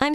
I'm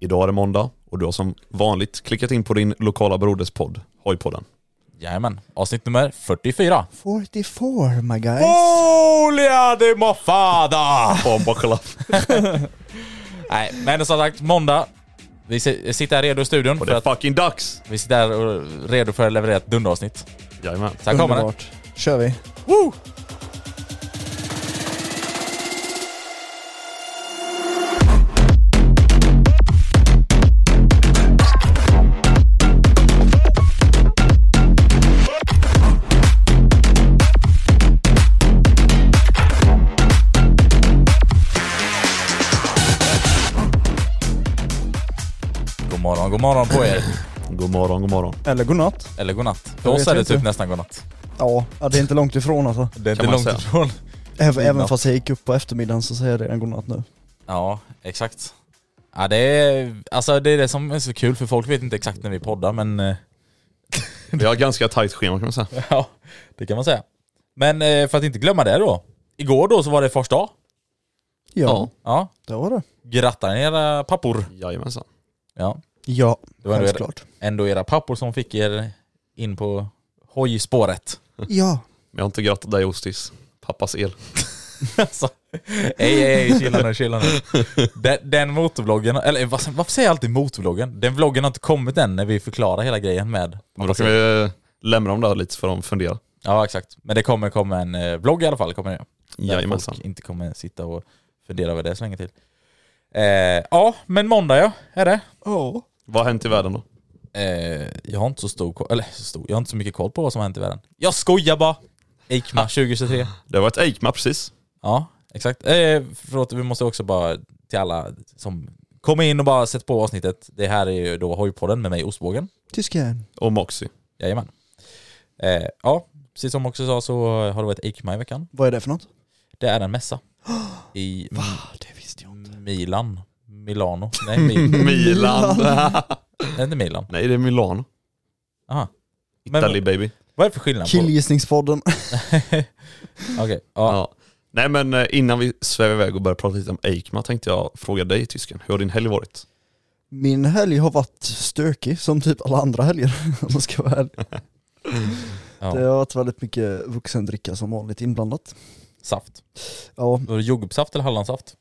Idag är det måndag och du har som vanligt klickat in på din lokala broderspodd, Hojpodden. Jajamän, avsnitt nummer 44. 44 my guys. Folia de mofada! Fan, bara kolla. Nej, men som sagt, måndag. Vi si- sitter här redo i studion. Och För det är att fucking dags! vi sitter här och redo för att leverera ett dunderavsnitt. Jajamän. Så här kommer det. Underbart. Kör vi. God morgon, god morgon på er. God morgon, god morgon. Eller godnatt. Eller god natt. För Jag oss vet är det inte. typ nästan god natt. Ja, ja, det är inte långt ifrån alltså. Det är inte man långt säga. ifrån. Även, även Godnatt. fast jag gick upp på eftermiddagen så säger jag redan godnatt nu. Ja, exakt. Ja, det är, alltså, det är det som är så kul för folk vet inte exakt när vi poddar men eh, Vi har ganska tajt schema kan man säga. ja, det kan man säga. Men eh, för att inte glömma det då. Igår då så var det första dag. Ja, Ja, det var det. grattar ni era pappor. Jajamensan. Ja, Ja, det var ändå era, självklart. ändå era pappor som fick er in på hojspåret. Ja. Men jag har inte grattat dig Ostis. Pappas el. Alltså, ej, ej, ej, chilla nu, chilla nu. Den, den motorvloggen, eller vad- varför säger jag alltid motorvloggen? Den vloggen har inte kommit än när vi förklarar hela grejen med... Men då kan vi eh, lämna dem där lite så får de fundera. Ja, exakt. Men det kommer komma en eh, vlogg i alla fall, kommer det. Där Jajamensan. folk inte kommer sitta och fundera över det så länge till. Eh, ja, men måndag ja, är det. Ja. Vad har hänt i världen då? Eh, jag har inte så stor koll, eller så stor, jag har inte så mycket koll på vad som har hänt i världen. Jag skojar bara! Eikma Ah. 2023. Det har varit Eikma precis. Ja, exakt. Eh, förlåt, vi måste också bara till alla som kommer in och bara sätter på avsnittet. Det här är ju då Hojpodden med mig, Ostbågen. Tysken. Och Moxie. Jajamän. Eh, ja, precis som också sa så har det varit Eikma i veckan. Vad är det för något? Det är en mässa. I Ah, det visste jag Mm. Milan. Milano. Nej, Mi- Milan. det är inte Milan. Nej det är Milano. Aha. Men- Italy baby. Vad är det för skillnad? på- Killgissningspodden. Okej, Ja. ja. Nej men eh, innan vi svävar iväg och börjar prata lite om Eikma tänkte jag fråga dig tysken, hur har din helg varit? Min helg har varit stökig som typ alla andra helger om jag ska vara ärlig. Ja. Det har varit väldigt mycket vuxendricka som vanligt inblandat. Saft. Ja. Var det jordgubbssaft eller hallonsaft?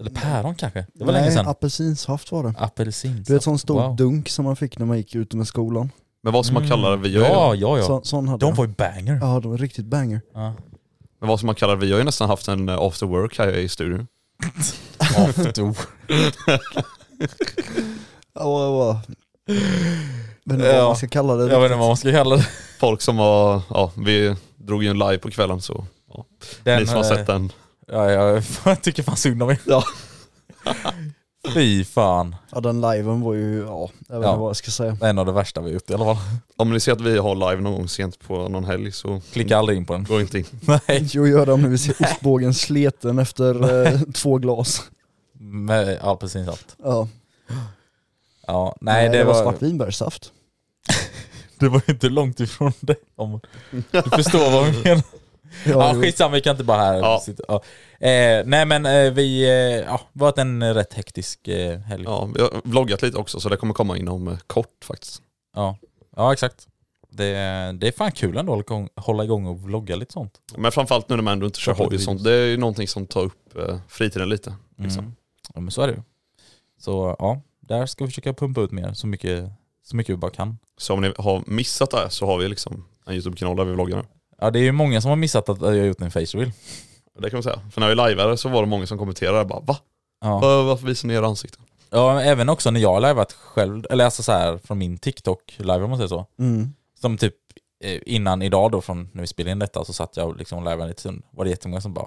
Eller päron kanske? Det var Nej, länge sedan. apelsinsaft var det. Apelsinsaft. Du vet sån stor Wow. dunk som man fick när man gick ute med skolan. Men vad som man Mm. kallar vi gör ju, Ja, ja, ja. Så, sån hade De jag. var ju banger. Ja, de var riktigt banger. Ja. men vad som man kallar vi har ju nästan haft en eh, after work här i studion. After. Ja, ja, ja. Men vad Ja. man ska kalla det. Jag vet inte vad man ska kalla det. Folk som var, ja vi drog ju en live på kvällen så ja. ni som har eh, sett den. Ja, ja, jag tycker fan synd om er. Ja. Fy fan. Ja den liven var ju, ja, jag vet Ja. inte vad jag ska säga. En av det värsta vi har gjort i alla fall. Om ni ser att vi har live någon gång sent på någon helg så Klicka aldrig in på den. gå inte in. Nej. Jo gör det om ni vill se ostbågen sleten efter eh, två glas. Men, ja, precis allt. Ja. Ja, nej, det, det var, svartvinbärssaft. det var inte långt ifrån det. Om, du förstår vad jag menar. Ja, jo. skitsamma, vi kan inte bara här Ja. sitta. Ja. Eh, nej men eh, vi, eh, ja, varit en eh, rätt hektisk eh, helg. Ja. Ja, vi har vloggat lite också så det kommer komma inom eh, kort faktiskt. Ja. exakt. Det, det är fan kul ändå att hålla igång- hålla igång och vlogga lite sånt. Men framförallt nu när man ändå inte kör Kopplat hobby och till sånt. Det är ju någonting som tar upp eh, fritiden lite. Liksom. Mm. Ja men så är det ju. Så ja, där ska vi försöka pumpa ut mer så mycket, så mycket vi bara kan. Så om ni har missat det här så har vi liksom en YouTube-kanal där vi vloggar nu. Ja det är ju många som har missat att jag har gjort en face reel. Det kan man säga. För när vi liveade så var det många som kommenterade bara va? Ja. Va- Varför visar ni era ansikten? ja, men även också när jag har liveat själv, eller alltså så här från min TikTok live om man säger så. Mm. Som typ eh, innan idag då, från när vi spelade in detta, så satt jag och liksom lärde mig lite stund. Var det jättemånga som bara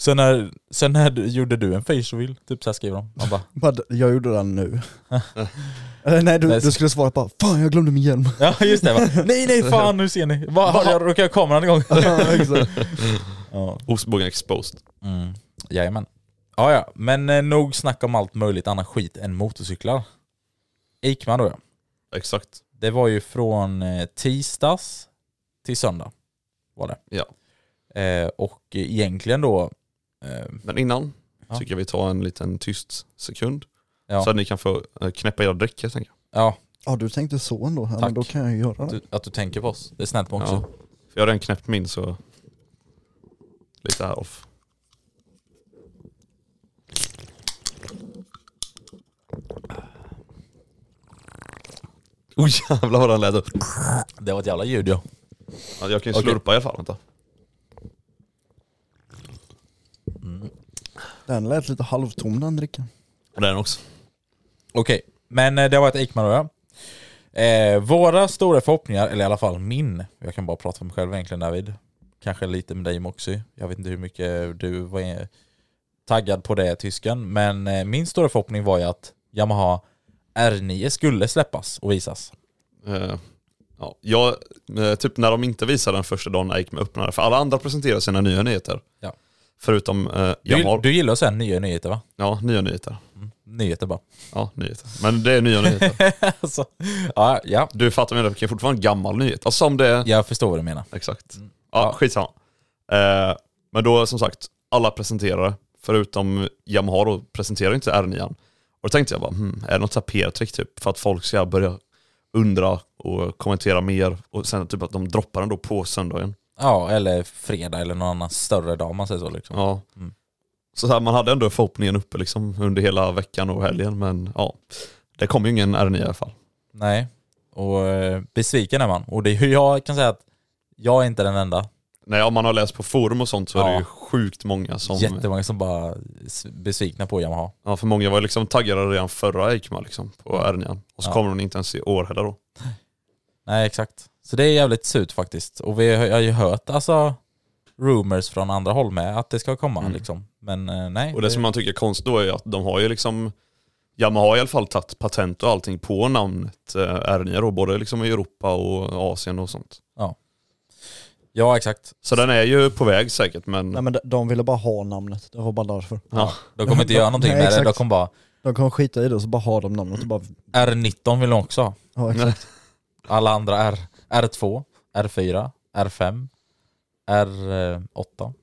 Sen när, sen när du- gjorde du en face reveal? Typ så här skriver de. Man bara, Vad- Jag gjorde den nu. Eh, Nej du, du skulle svara bara fan jag glömde min hjälm. ja just det. Bara, nej nej fan nu ser ni. Vad har jag råkat kameran igång? ja, exakt. ja. Ostbågen exposed. Mm. Jajamän. Ja ja, men eh, nog snack om allt möjligt annat skit än motorcyklar. Eikman då ja. Exakt. Det var ju från eh, tisdags till söndag. Var det. Ja. Eh, och egentligen då eh, Men innan Ja. tycker jag vi tar en liten tyst sekund. Ja. Så att ni kan få eh, knäppa era dräcker tänker jag. Ja, Ja du tänkte så ändå, ja, Tack. men då kan jag ju göra det. du, att du tänker på oss. Det är snällt med också. Ja. För jag har redan knäppt min så lite här off. Oj jävlar vad den lät. upp. Det var ett jävla ljud ja. Ja, Jag kan ju Okej. slurpa i alla fall. Vänta. Den lät lite halvtom den drickan. Och den också. Okej, men eh, det var ett Ekman och jag. Eh, våra stora förhoppningar, eller i alla fall min, jag kan bara prata för mig själv egentligen David. Kanske lite med dig Moxie. Jag vet inte hur mycket du var eh, taggad på det tysken, men eh, min stora förhoppning var ju att Yamaha R9 skulle släppas och visas. Eh, ja, jag, eh, typ när de inte visade den första dagen när jag gick med öppnare, för alla andra presenterar sina nya nyheter. Ja. Förutom eh, Du, Yamaha. du gillar att säga nya nyheter va? Ja, nya nyheter. Nyheter bara. Ja, nyheter. Men det är nya nyheter. alltså, ja, ja, Du fattar mig, det är fortfarande en gammal nyhet. Alltså om det är... jag förstår vad du menar. Exakt. Mm. Ja. Ja, skitsamma. Eh, men då som sagt, alla presenterade, förutom Yamaha då, presenterade inte R9. Och då tänkte jag bara, hmm, är det något så här PR-trick typ? För att folk ska börja undra och kommentera mer. Och sen typ att de droppar den då på söndagen. Ja, eller fredag eller någon annan större dag om man säger så. Liksom. Ja. Mm. Så, så här, man hade ändå förhoppningen uppe liksom under hela veckan och helgen, men ja. Det kom ju ingen R9 i alla fall. Nej, och eh, besviken är man. Och det är ju jag kan säga att jag är inte den enda. Nej, om man har läst på forum och sånt så är det Ja. ju sjukt många som... Jättemånga som bara s- besvikna på Yamaha. Ja, för många var ju liksom taggade redan förra Eikma liksom, på R9. Och så Mm. Ja. kommer hon inte ens i år heller då. Nej, exakt. Så det är jävligt surt faktiskt. Och vi har jag har ju hört alltså rumors från andra håll med att det ska komma Mm. liksom. Men eh, nej. Och det som man tycker är konstigt då är ju att de har ju liksom Yamaha har i alla fall tagit patent och allting på namnet eh, R9 då, både liksom i Europa och Asien och sånt. Ja, exakt. Så den är ju på väg säkert men... Nej men de- de ville bara ha namnet, det var bara därför. ja. De kommer inte göra någonting Nej, med det. exakt. De kommer bara De kan skita i det och så bara ha de namnet och bara, R19 vill de också ha. ja, exakt. Alla andra R. R2, R4, R5, eh, R8.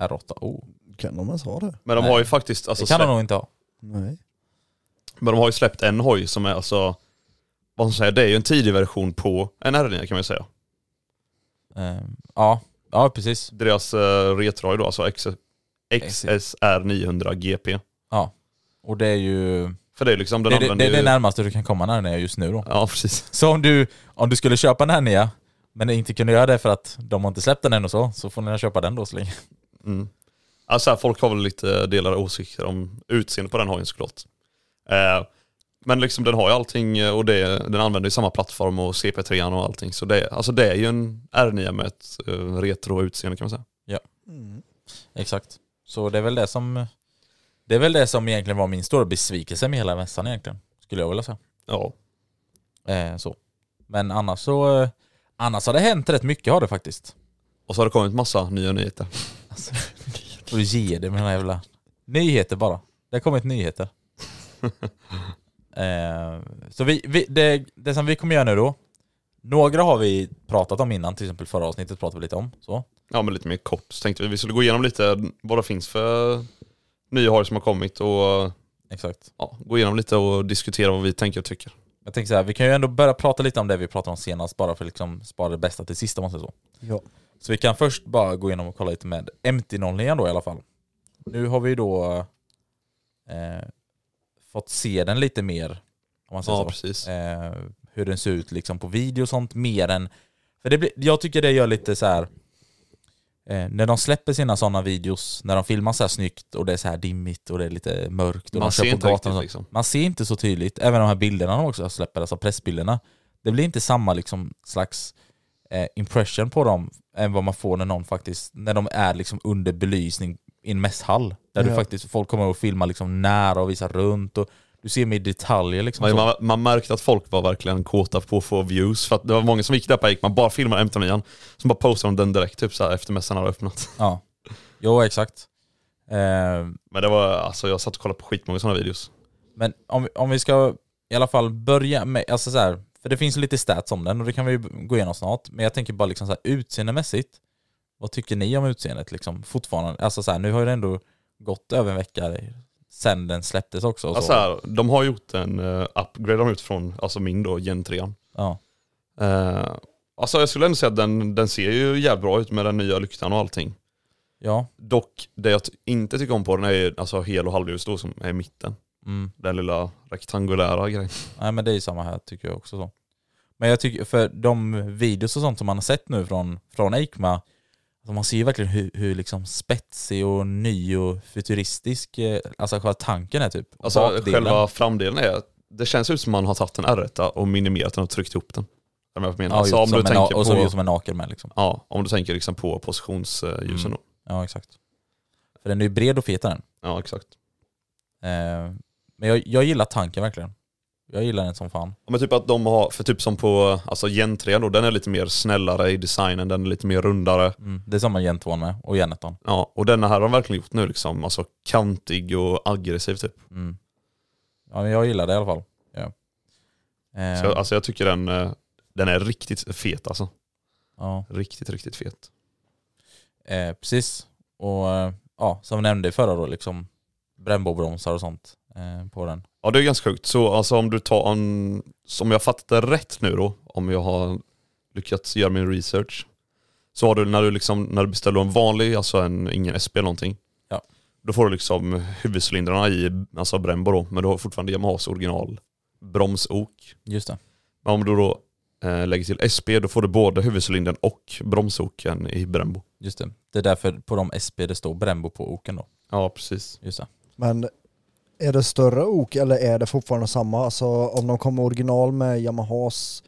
R8, oh. kan de ens ha det? Men de Nej. har ju faktiskt alltså, Det kan de släppt, nog inte ha. Nej. men de har ju släppt en hoj som är alltså, vad man säger, det är ju en tidig version på en R9 E, kan man ju säga. Eh, ja. ja, precis. Deras eh, retrohoj då, alltså XS, XSR 900 GP. Och det är ju... För det är ju liksom, den Det, det, det använder är det ju... närmaste du kan komma när den är just nu då. Ja precis. Så om du, om du skulle köpa den här nya, men inte kunde göra det för att de har inte släppt den än och så, så får ni köpa den då så länge. Mm. Alltså här, folk har väl lite delade åsikter om utseendet på den hojen såklart. Eh, men liksom den har ju allting eh, och det, den använder ju samma plattform och CP3 an och allting. Så det, alltså det är ju en R9 med ett eh, retro utseende kan man säga. Exakt. Så det är väl det som Det är väl det som egentligen var min stora besvikelse med hela mässan egentligen. Skulle jag vilja säga. Ja. Eh, så. Men annars så... Eh, annars har det hänt rätt mycket har det faktiskt. Och så har det kommit massa nya nyheter. Alltså, och ge det med den här jävla... Nyheter bara. Det har kommit nyheter. eh, så vi, vi, det, det som vi kommer göra nu då. Några har vi pratat om innan, till exempel förra avsnittet pratade vi lite om. Så. Ja men lite mer kort så tänkte vi vi skulle gå igenom lite vad det finns för nya har som har kommit och Exakt. ja, gå igenom lite och diskutera vad vi tänker och tycker. Jag tänker så här, vi kan ju ändå börja prata lite om det vi pratade om senast bara för att liksom spara det bästa till sist om man säger så. Ja. Så vi kan först bara gå igenom och kolla lite med MT-09 då i alla fall. Nu har vi då eh, fått se den lite mer, om man säger Ja så. precis. eh, hur den ser ut liksom på video och sånt mer än... För det blir, jag tycker det gör lite så här. Eh, när de släpper sina sådana videos, när de filmar så här snyggt och det är så här dimmigt och det är lite mörkt och Man de kör ser på inte gatan och riktigt sånt. liksom. Man ser inte så tydligt, även de här bilderna de också släpper, alltså pressbilderna. Det blir inte samma liksom slags eh, impression på dem än vad man får när någon faktiskt, när de är liksom under belysning i en mässhall. Där du Ja. faktiskt, folk kommer och filmar liksom nära och visar runt och du ser mer detaljer liksom. Man, så. man, man märkte att folk var verkligen kåta på att få views för att det var många som gick där på Ekman, bara filmade m 9 som bara postade den direkt typ så här efter mässan hade öppnat. Ja, jo exakt. Eh, Men det var alltså jag satt och kollade på skitmånga sådana videos. men om, vi- om vi ska i alla fall börja med, alltså så här, för det finns lite stats om den och det kan vi ju gå igenom snart, men jag tänker bara liksom så här utseendemässigt, vad tycker ni om utseendet liksom fortfarande? Alltså så här, nu har det ändå gått över en vecka sen den släpptes också. Och så. Alltså här, de har gjort en eh, upgrade de har gjort från alltså min då, Gen 3. ja. Eh, alltså jag skulle ändå säga att den, den ser ju jävligt bra ut med den nya lyktan och allting. ja. Dock, det jag ty- inte tycker om på den är ju, alltså hel och halvljus då som är i mitten. Mm. Den lilla rektangulära grejen. Nej men det är ju samma här tycker jag också så. Men jag tycker, för de videos och sånt som man har sett nu från, från Eikma, alltså man ser ju verkligen hur, hur liksom spetsig och ny och futuristisk eh, alltså själva tanken är typ. Och Alltså bakdelen. själva framdelen är, det känns ut som man har tagit en R1 och minimerat den och tryckt ihop den. Är du med på vad jag menar? ja, alltså, om som du en, tänker och så på, gjort som en naken med liksom. ja, om du tänker liksom på positionsljusen Mm. då. Ja exakt. För den är ju bred och fet den. Ja exakt. Eh, men jag, jag gillar tanken verkligen. Jag gillar den som fan. Ja, men typ att de har, för typ som på alltså Gen 3 då, den är lite mer snällare i designen, den är lite mer rundare. Mm. Det är samma Gen 2 med, och Gen 1. Ja, och den här har de verkligen gjort nu liksom, alltså kantig och aggressiv typ. Mm. Ja men jag gillar det i alla fall. Ja. Eh, Så jag, alltså jag tycker den, eh, den är riktigt fet alltså. ja. Riktigt, riktigt fet. Eh, precis. Och eh, ja, som vi nämnde förra då, liksom brännbobromsar och sånt eh, på den. Ja det är ganska sjukt. Så alltså om du tar en, som jag fattat det rätt nu då, om jag har lyckats göra min research. Så har du när du liksom, när du beställer en vanlig, alltså en, ingen SP eller någonting. Ja. Då får du liksom huvudcylindrarna i, alltså Brembo då, men du har fortfarande Yamahas original bromsok. Just det. Men om du då eh, lägger till SP, då får du både huvudcylindern och bromsoken i Brembo. Just det. det är därför på de SP det står brännbo på oken då. Ja precis. Just det. Men är det större ok eller är det fortfarande samma? Alltså om de kommer original med Yamahas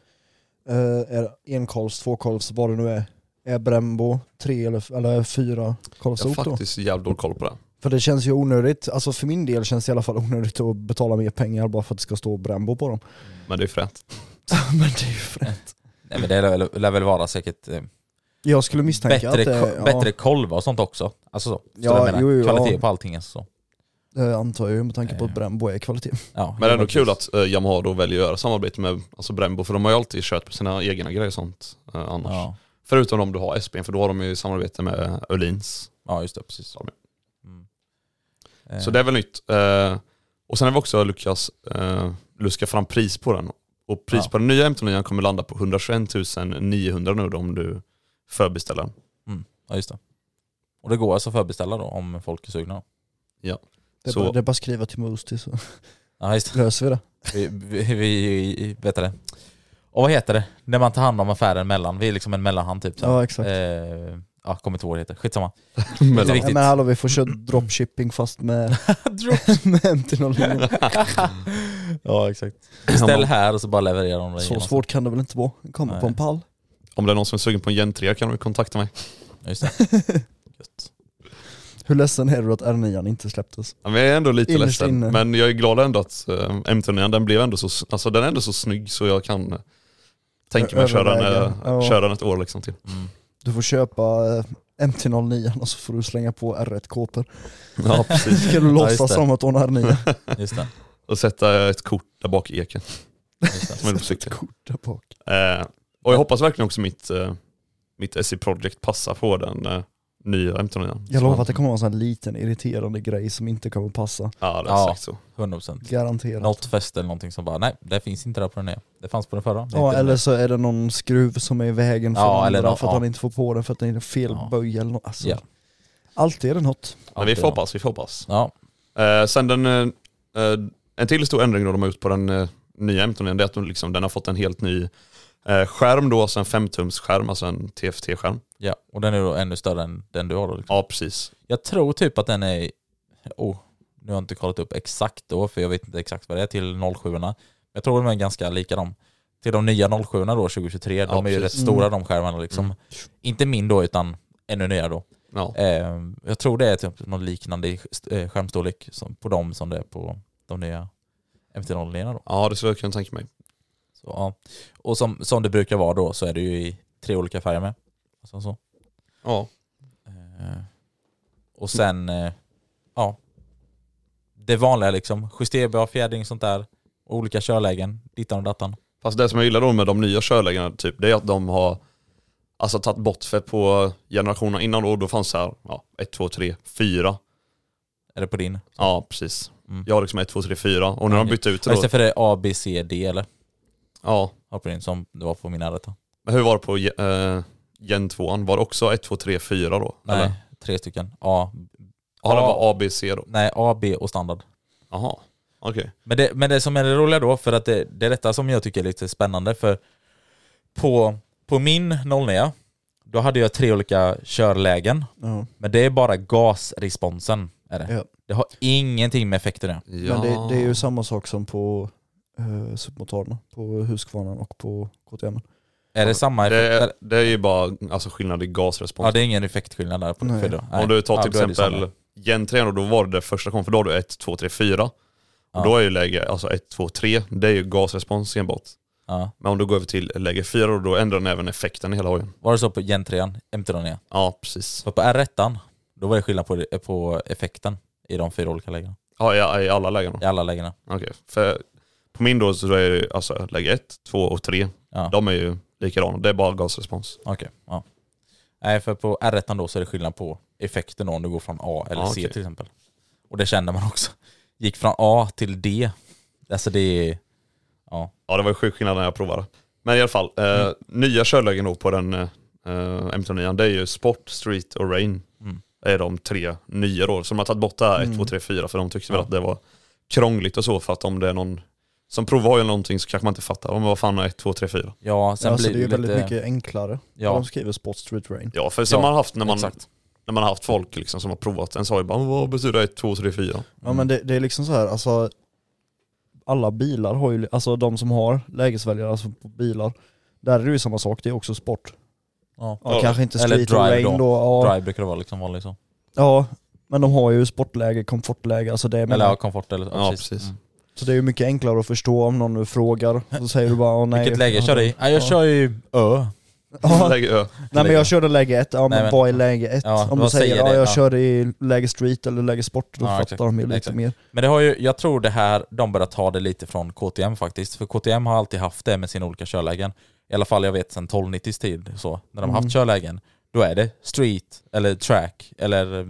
eh, är enkolvs, tvåkolvs, vad det nu är. Är Brembo tre eller, eller fyra kolvs Jag har ok då? faktiskt jävligt dålig koll på det. För det känns ju onödigt, alltså för min del känns det i alla fall onödigt att betala mer pengar bara för att det ska stå Brembo på dem. Men det är fränt. Men det är ju fränt. Nej men det lär, lär väl vara säkert eh, Jag skulle misstänka bättre, att det, ko- bättre kolvar och sånt också. Alltså så. Förstår du Ja, vad jag menar? jo, jo, Kvalitet ja. på allting alltså så. ja, det antar jag ju med tanke på att Eh. Brembo är kvalitet. Ja, Men det är ändå faktiskt. kul att eh, Yamaha då väljer att göra samarbete med alltså Brembo för de har ju alltid kört på sina egna grejer och sånt eh, annars. Ja, Förutom om du har SP för då har de ju samarbete med Öhlins. ja just det, precis. Ja, men- Mm. Eh, Så det är väl nytt. Eh, och sen har vi också lyckats eh, luska fram pris på den. Och pris Ja. på den nya M9 kommer landa på 121 900 nu då, om du förbeställer den. mm. Ja just det. Och det går alltså att förbeställa då om folk är sugna då. Det är, Så- bara, det är bara att skriva till Moosty så Ja just det. löser vi det. Vi, vi, vi vet du det. Och vad heter det? När man tar hand om affären mellan. Vi är liksom en mellanhand typ. Så. Ja exakt. eh, ja, kommer inte ihåg vad det heter. Skitsamma. Mellan- riktigt. Nej, men hallå vi får köra dropshipping fast med, med MT-09. ja exakt. Beställ här och så bara levererar de det Så gemensamt. svårt kan det väl inte vara? Komma Nej. på en pall. Om det är någon som är sugen på en Gen 3 kan du kontakta mig. Just det. Gött. Hur ledsen är du att R9 inte släpptes? Ja, men jag är ändå lite Innerst ledsen, inne. men jag är glad ändå att eh, M39 den blev ändå så, alltså den är ändå så snygg så jag kan eh, tänka mig att köra, den, eh, Överväga, ja. köra den ett år liksom till. Mm, Du får köpa eh, MT-09 och så får du slänga på R1-kåpor. Ja precis. Ska du Ja, just låtsas det. som att hon har R9? Just det. Och sätta ett kort där bak i eken Just det. som är på cykeln. Kort där bak. Eh, och jag hoppas verkligen också mitt, eh, mitt SE Project passar på den eh, nya M39. Jag lovar att det kommer vara en sån här liten irriterande grej som inte kommer passa. Ja det är Ja. exakt så. 100%. Garanterat. Något fäste eller någonting som bara, nej det finns inte där på den nya. Det fanns på den förra. Det är Ja inte eller den så är det någon skruv som är i vägen för Ja, den eller andra nå- för att ja. han inte får på den för att den är fel Ja. böj eller något. Alltså, Ja. Alltid är det något. här. Men vi får hoppas, vi får hoppas. Ja, Eh, sen den, eh, eh, en till stor ändring då de har gjort på den eh, nya M39 det är att de liksom, den har fått en helt ny eh, skärm då, alltså en 5-tumsskärm, alltså en TFT-skärm. ja, och den är då ännu större än den du har då. Liksom. Ja precis. Jag tror typ att den är, oh, nu har jag inte kollat upp exakt då för jag vet inte exakt vad det är till 07 erna Jag tror de är ganska lika de. Till de nya 07 erna då 2023, de Ja, är ju rätt precis. stora de skärmarna liksom. Inte min då utan ännu nyare då. Ja. Eh, jag tror det är typ någon liknande i sk- eh, skärmstorlek som, på dem som det är på de nya MT-09 erna då. ja det skulle jag kunna tänka mig. Så, ja. Och som, som det brukar vara då så är det ju i tre olika färger med. Alltså, så. Ja. Eh, och sen, eh, ja. Det vanliga liksom. Justerbar fjädring sånt där. Olika körlägen. Dittan och dattan. Fast det som jag gillar då med de nya körlägena typ, det är att de har alltså, tagit bort för på generationerna innan då, då fanns det här ja, 1, 2, 3, 4. Är det på din? Ja precis. Mm. Jag har liksom 1, 2, 3, 4 och nu har de bytt ut det Ja, just då. det, för det är A, B, C, D eller? Ja. Ja, på din som det var på min R1. Men hur var det på ge- eh, Gen 2? Var det också 1, 2, 3, 4 då? Nej, Eller? tre stycken. A, Ja det Ja. var ABC då. nej, A, B och standard. Jaha, okej. Men det, men det som är det roliga då, för att det, det är detta som jag tycker är lite spännande, för på, på min 09, då hade jag tre olika körlägen, Ja. men det är bara gasresponsen. Är det. Ja. det har ingenting med effekten att göra. Ja. Men det, det är ju samma sak som på eh, supermotorerna, på Husqvarnan och på KTM. Är det samma det, effekt? är, eller- det är ju bara alltså, skillnad i gasrespons. Ja, det är ingen effektskillnad där. På Nej. för då. Om du tar Ja, till då är det exempel samma. Gen 3 då, då var det det första kom, för då har du 1, 2, 3, 4. Ja. Och då är ju läge alltså 1, 2, 3, det är ju gasrespons enbart. Ja. Men om du går över till läge 4 då, då ändrar den även effekten i hela hojen. Var det så på Gen 3 MT09? Ja, precis. För på R1, då var det skillnad på, på effekten i de fyra olika lägena. Ja, i, i alla lägen då? I alla lägena. Okej. För på min då så är det ju, alltså läge 1, 2 och 3. Ja. De är ju likadana, det är bara gasrespons. Okej, ja. Nej, för på R1 då så är det skillnad på effekten då, om du går från A eller Ja, C okej. till exempel. Och det kände man också. Gick från A till D. Alltså det är... Ja, Ja det var ju sjuk skillnad när jag provade. Men i alla fall, eh, Mm. nya körlägen då på den eh, M39, det är ju Sport, Street och Rain. Mm. Det är de tre nya då. Så de har tagit bort det här 1, 2, 3, 4 för de tyckte väl att det var krångligt och så för att om det är någon som provar eller någonting så kanske man inte fattar. Om vad fan är 1, 2, 3, 4? ja sen Ja, så Alltså, blir det är ju det väldigt lite... mycket enklare. Ja. De skriver Sport Street Rain. Ja för som Ja, man har haft när man, exakt. när man har haft folk liksom som har provat en sa ju bara vad betyder 1, 2, 3, 4? Mm. Ja men det, det är liksom så här, alltså alla bilar har ju, alltså de som har lägesväljare alltså på bilar, där är det ju samma sak, det är också sport. Ja. Ja, Ja, kanske inte eller street och drive rain då, då. ja, Drive brukar det vara liksom vanligt så. ja, men de har ju sportläge, komfortläge, alltså det är Eller ja, komfort eller... Ja, precis. Mm. Så det är ju mycket enklare att förstå om någon nu frågar, så säger du bara "Åh, nej. Vilket läge kör du i? Ja, jag kör ju Ö. Ja, Läge Ö. nej men jag körde läge 1, ja Nej, men men- vad är läge 1? Ja, om du vad säger säger ja det? jag Ja. körde i läge street eller läge sport, då Ja, fattar exakt. de ju lite Exakt. mer. Men det har ju, jag tror det här, de börjar ta det lite från KTM faktiskt. För KTM har alltid haft det med sina olika körlägen. I alla fall jag vet sedan 1290s tid, så, när de har haft körlägen. Då är det street, eller track, eller eh,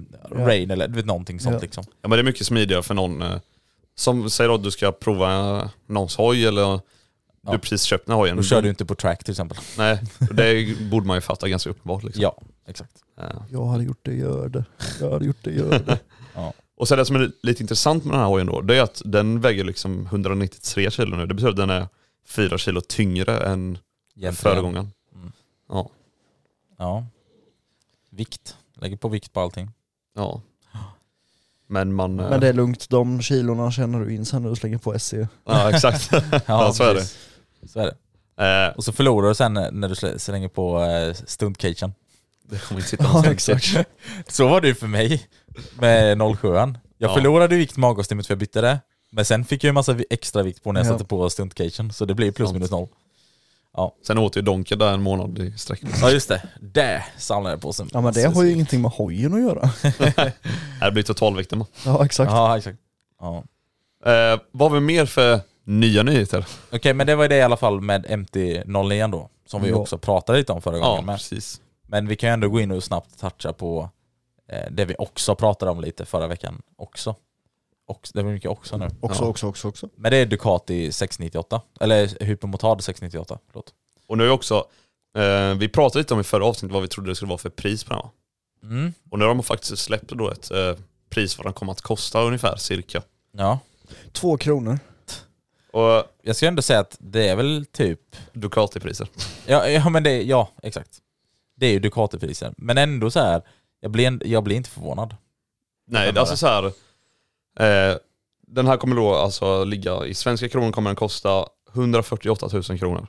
rain, eller du vet, någonting sånt Ja. liksom. Ja men det är mycket smidigare för någon eh, som säger att du ska prova eh, någons hoj eller Ja. du precis köpt den här hojen. Då kör du inte på track till exempel. Nej, det borde man ju fatta ganska uppenbart. Liksom. Ja, exakt. Eh, Jag hade gjort det, gör det. Jag hade gjort det, gör det. Och sen det som är lite intressant med den här hojen då, det är att den väger liksom 193 kilo nu. Det betyder att den är 4 kilo tyngre än Egentligen. föregångaren. Ja. Ja. Vikt. Lägger på vikt på allting. ja. Men man... eh, Men det är lugnt, de kilorna känner du in sen när du slänger på SE. Ja exakt. ja, så är det. precis. Så är det. Eh, Och så förlorar du sen när du slä- slänger på eh, stuntcagen. det kommer inte sitta någonstans. Så var det ju för mig. med 07 Jag Ja. förlorade vikt med avgastimmet för jag bytte det. Men sen fick jag en massa vi- extra vikt på när jag Ja. satte på stuntcagen. Så det blir plus Sant. minus noll. Sen åt ju Donken där en månad i sträck. Ja just det. Det samlade jag på sen. Ja men det har ju ingenting med hojen att göra. Det blir totalvikten. man. Ja exakt. Ja exakt. Ja. Eh, vad har vi mer för nya nyheter? Okej men det var det i alla fall med MT-09 då. Som vi Ja. också pratade lite om förra gången. Ja, men, precis. men vi kan ju ändå gå in och snabbt toucha på eh, det vi också pratade om lite förra veckan också. också det var mycket också nu. Också, Ja. också, också, också. Men det är Ducati 698. Eller Hypermotard 698. Förlåt. Och nu är också, eh, vi pratade lite om i förra avsnittet vad vi trodde det skulle vara för pris på den här. Mm. Och nu har de faktiskt släppt då ett eh, pris vad den kommer att kosta ungefär, cirka. Ja. Två kronor. Och Jag ska ändå säga att det är väl typ... Ducati-priser. Ja, ja men det, ja exakt. Det är ju Ducati-priser. Men ändå så här, jag blir, en- jag blir inte förvånad. Nej, Kan det är alltså vara. så här. Eh, den här kommer då alltså ligga, i svenska kronor kommer den kosta 148 000 kronor.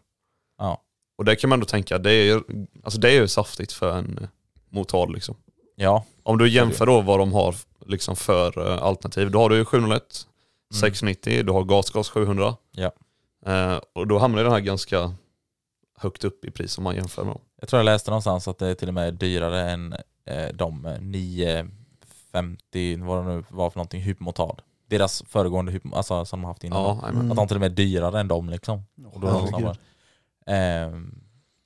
Ja. Och det kan man då tänka, det är ju, alltså det är ju saftigt för en eh, motard liksom. Ja, Om du jämför då vad de har liksom för eh, alternativ, då har du ju 701, Mm. 690, du har gasgas 700. Ja. Eh, och då hamnar den här ganska högt upp i pris om man jämför med dem. jag tror jag läste någonstans att det är till och med dyrare än eh, de 950, vad det nu var för någonting, Hypermotard. Deras föregående Hypermotard, alltså som de haft innan. Ja, amen. Mm. Att de till och med är dyrare än dem liksom. Och då är de snabbare. Ehm,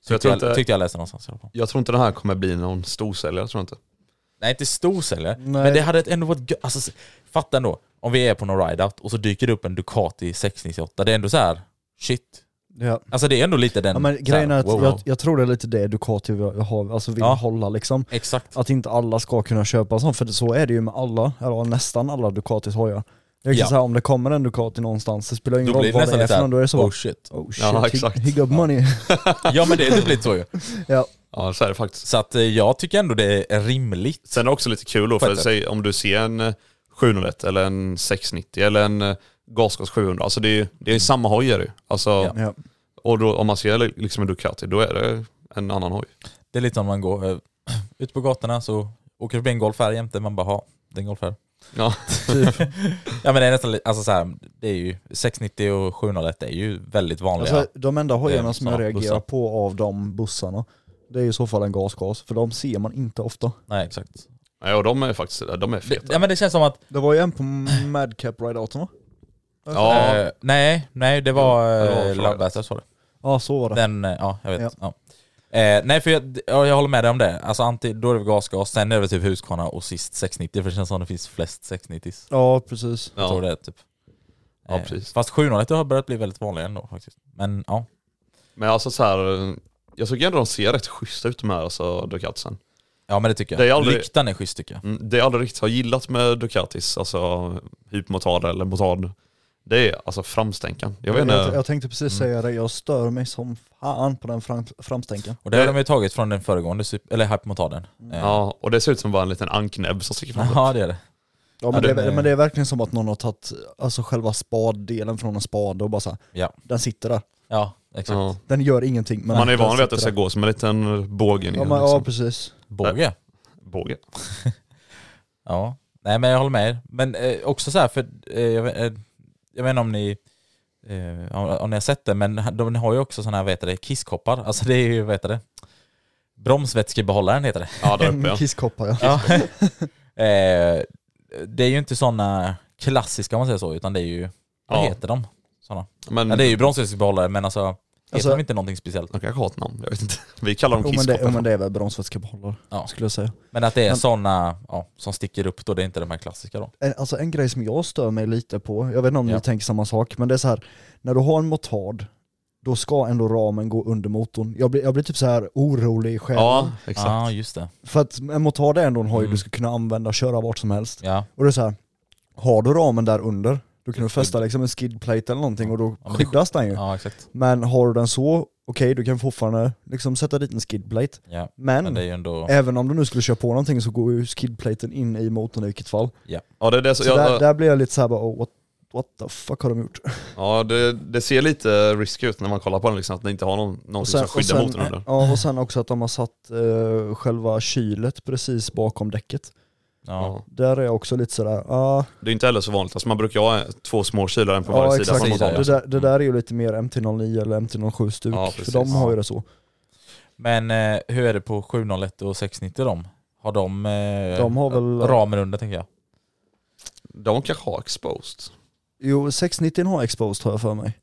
Så jag tyckte, tror, jag, inte, tyckte jag läste någonstans i alla fall. jag tror inte den här kommer bli någon storsäljare, tror jag inte. Nej inte storsäljare, Nej. men det hade ändå varit gö- alltså, s- Fatta ändå, om vi är på någon ride-out och så dyker det upp en Ducati 698, det är ändå så här. shit. Ja. Alltså det är ändå lite den... Ja, men så grejen här, är att wow. jag, jag tror det är lite det Ducati vill, ha, alltså vill Ja. hålla liksom. Exakt. Att inte alla ska kunna köpa en sån, för så är det ju med alla, eller nästan alla Ducatis hojar. Jag kan Ja. säga om det kommer en Ducati någonstans, det spelar ingen Då blir roll det vad nästan det är lite för någon, då är det såhär, så oh bara, shit. oh shit, Ja, he- exakt. he got money. Ja men det är typ lite så ju. ja. Ja, så är det faktiskt. Så att eh, jag tycker ändå det är rimligt. Sen är det också lite kul då, för Fett. säg, om du ser en eh, 701 eller en 690 eller en eh, Gasgas 700, alltså det är ju det är ju samma hoj är det ju. alltså, Ja. Och då, om man ser li- liksom en Ducati, då är det en annan hoj. Det är lite som man går eh, ut på gatorna så åker det förbi en golf här jämte, man bara ha den golf här. Ja, Typ. Ja men det är nästan li- alltså så här, det är ju 690 och 701 är ju väldigt vanliga. Alltså, de enda Det är hojarna som jag såna reagerar bussar. på på av de bussarna, det är i så fall en gasgas, för de ser man inte ofta. Nej exakt. Nej, och de är faktiskt de är Det, feta. ja men det känns som att, Det var ju en på Madcap Rideouten va? Ja, eh, nej, nej det var det var eh, Florida. Lovebaster sa du. Ja så var det. Den, eh, ja jag vet. Ja. Eh, nej för jag, ja, jag håller med dig om det. Alltså anti, då är det gasgas, sen är det typ Husqvarna och sist 690 för det känns som det finns flest 690 s Ja precis. Jag tror ja. det är typ. Ja, Eh, precis. Fast 701 har börjat bli väldigt vanliga ändå faktiskt. Men ja. Men alltså så här, eh, jag tycker ändå de ser rätt schyssta ut de här alltså, Ducatisen. Ja men det tycker jag. Det är aldrig- Lyktan är schysst tycker jag. Mm, Det jag aldrig riktigt har gillat med Ducatis, alltså hypermotard eller motard, det är alltså framstänkan. Jag vet jag, inte, jag tänkte precis säga det, jag stör mig som fan på den fram, framstänken. Och det har Det- de ju tagit från den föregående, sup- eller hypermotarden. Eh, ja, och det ser ut som bara en liten anknäbb som sticker fram. Ja det är det. Ja, men, det, den är- är- men det är verkligen som att någon har tagit alltså, själva spaddelen från en spade och bara så här, Ja, den sitter där. ja exakt. Ja. Den gör ingenting. Men Man är ju den van vid att det ska sitter gå som en liten båge ner. där. Ja, men, ja liksom. precis. Båge. Båge. Ja. Nej men jag håller med er. Men eh, också så här för, eh, jag, vet- eh, jag vet inte om ni eh, om, om ni har sett det, men de har ju också sådana här, vad heter det, kisskoppar. Alltså det är ju, vad heter det? Bromsvätskebehållaren heter det. Ja, där uppe En ja. kisskoppar ja. Ja. eh, det är ju inte sådana klassiska om man säger så, utan det är ju, Ja. vad Mm. heter de? Såna. Men Ja, det är ju bromsvätskebehållare, men alltså, heter Alltså- de inte någonting speciellt? de kanske har ett namn, jag vet inte. Vi kallar dem Jo men, det, jo men kisskoppar. det är väl bromsvätskebehållare Ja. skulle jag säga. Men att det är Men- sådana ja, som sticker upp då, det är inte de här klassiska då. En, alltså en grej som jag stör mig lite på, jag vet inte om Ja. ni tänker samma sak, men det är så här när du har en motard, då ska ändå ramen gå under motorn. Jag blir, jag blir typ så här orolig i själen. Ja, exakt. Ja, ah, just det. För att en motard är ändå en hoj Mm. du ska kunna använda, köra vart som helst. Ja. Och det är så här, har du ramen där under, då kan du fästa liksom en skidplate eller någonting och då Ja, men det- skyddas den ju. ja, exakt. Men har du den så, okej du kan fortfarande liksom sätta dit en skidplate. Ja. Men, Eh, Men det är ju ändå... även om du nu skulle köra på någonting så går ju skidplaten in i motorn i vilket fall. Ja, det, är det, Så så jag, där, där blir jag lite såhär bara, oh, what, what the fuck har de gjort? ja, det, det ser lite risky ut när man kollar på den, liksom, att den inte har någon, någonting som skyddar motorn under. ja, och sen också att de har satt eh, själva kylet precis bakom däcket. Ja. Där är jag också lite sådär, ja, Det är inte heller så vanligt, alltså man brukar ju ha två små kylaren på ja varje exakt. sida. samma sak. Det där, det där är ju lite mer MT09 eller MT07 stuk, Ja, för precis. de har ju Ja. det så. Men eh, hur är det på 701 och 690 de? Har de, eh, De har väl- ramen under tänker jag? De kanske har exposed. Jo, 690 har exposed har jag för mig.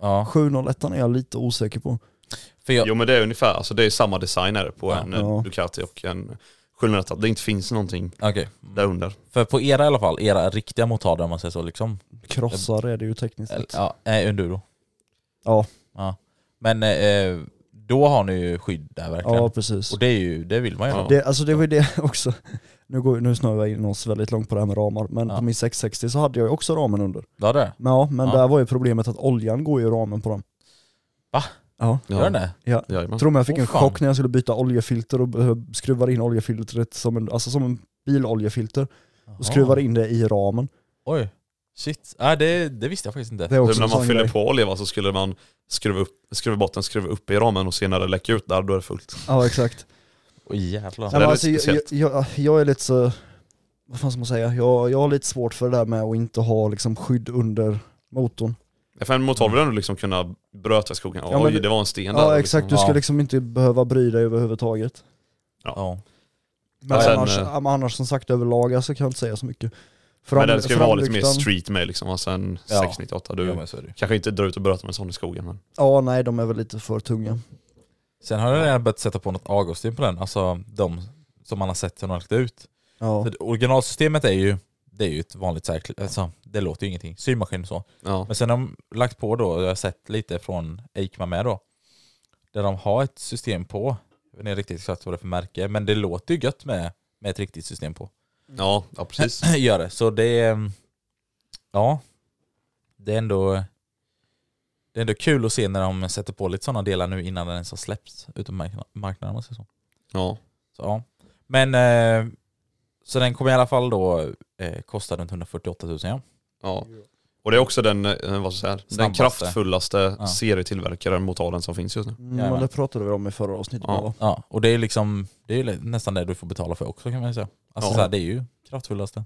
Ja. 701 är jag lite osäker på. För jag, Jo men det är ungefär, alltså det är samma designer på Ja. en Ja. ja. Ducati och en 700 att det inte finns någonting okej. där under. För på era i alla fall, era riktiga motarder om man säger så liksom. Krossar är det ju tekniskt Eller, sett. ja, nej, enduro. Ja. ja. Men eh, då har ni ju skydd där verkligen. Ja, precis. Och det, är ju, det vill man ju Ja. ha. Det, alltså det var ju det också. Nu, går, nu snurrar jag in oss väldigt långt på det här med ramar, men Ja. på min 660 så hade jag ju också ramen under. Ja det är det. Men ja, men Ja. där var ju problemet att oljan går ju i ramen på dem. Va? Ja. Gör den det? ja. Jajamän. Jag tror mig jag fick Åh, en fan. chock när jag skulle byta oljefilter och eh, skruvade in oljefiltret som en, alltså som en biloljefilter Jaha. och Ah. skruvade in det i ramen. Oj. Shit. Nej, det, det visste jag faktiskt inte. Det är Typ också när en sån man fyller grej. på olja va, så skulle man skruva, upp, skruva bort den, skruva upp i ramen och se när det läcker ut där, då är det fullt. Ja exakt. Oj jävlar. Nej, det men är alltså, lite jag, jag, jag, jag är lite så, vad fan ska man säga, jag, jag har lite svårt för det där med att inte ha liksom skydd under motorn. För en motor vill ändå liksom kunna bröta i skogen. Ja, men- Oj, det var en sten där. Ja exakt, du Liksom. ska Ja. liksom inte behöva bry dig överhuvudtaget. Ja. Men Ja, sen, annars, eh, ja, men annars som sagt överlag alltså, kan jag inte säga så mycket. Men den ska ju vara lite mer framlyktan- street med liksom, alltså en Ja. 698. Du ja men så är det ju. kanske inte drar ut och brötar med en sån i skogen men Ja nej de är väl lite för tunga. Sen har jag redan börjat sätta på något Augustin på den, alltså de som man har sett hur de har lagt ut. Ja. För det- originalsystemet är ju, det är ju ett vanligt säkert, alltså, det låter ju ingenting, symaskin och så. ja. Men sen har de lagt på då, jag har sett lite från Eikman med då, där de har ett system på, jag vet inte riktigt exakt vad det är för märke, men det låter ju gött med, med ett riktigt system på. Ja, ja precis. Gör det, så det är, ja, det är ändå det är ändå kul att se när de sätter på lite sådana delar nu innan den ens har släppts utom markna- marknaden. om man säger så. Ja. Så, ja. Men eh, så den kommer i alla fall då eh, kosta runt 148 000 ja. Ja. Och det är också den, eh, vad ska jag säga, den Snabbaste. kraftfullaste Ja. serietillverkaren motalen som finns just nu. Mm, Jajamän. men det pratade vi om i förra avsnittet Ja. va? ja. Och det är liksom, det är ju nästan det du får betala för också kan man ju säga. Alltså Ja. så här, det är ju kraftfullaste.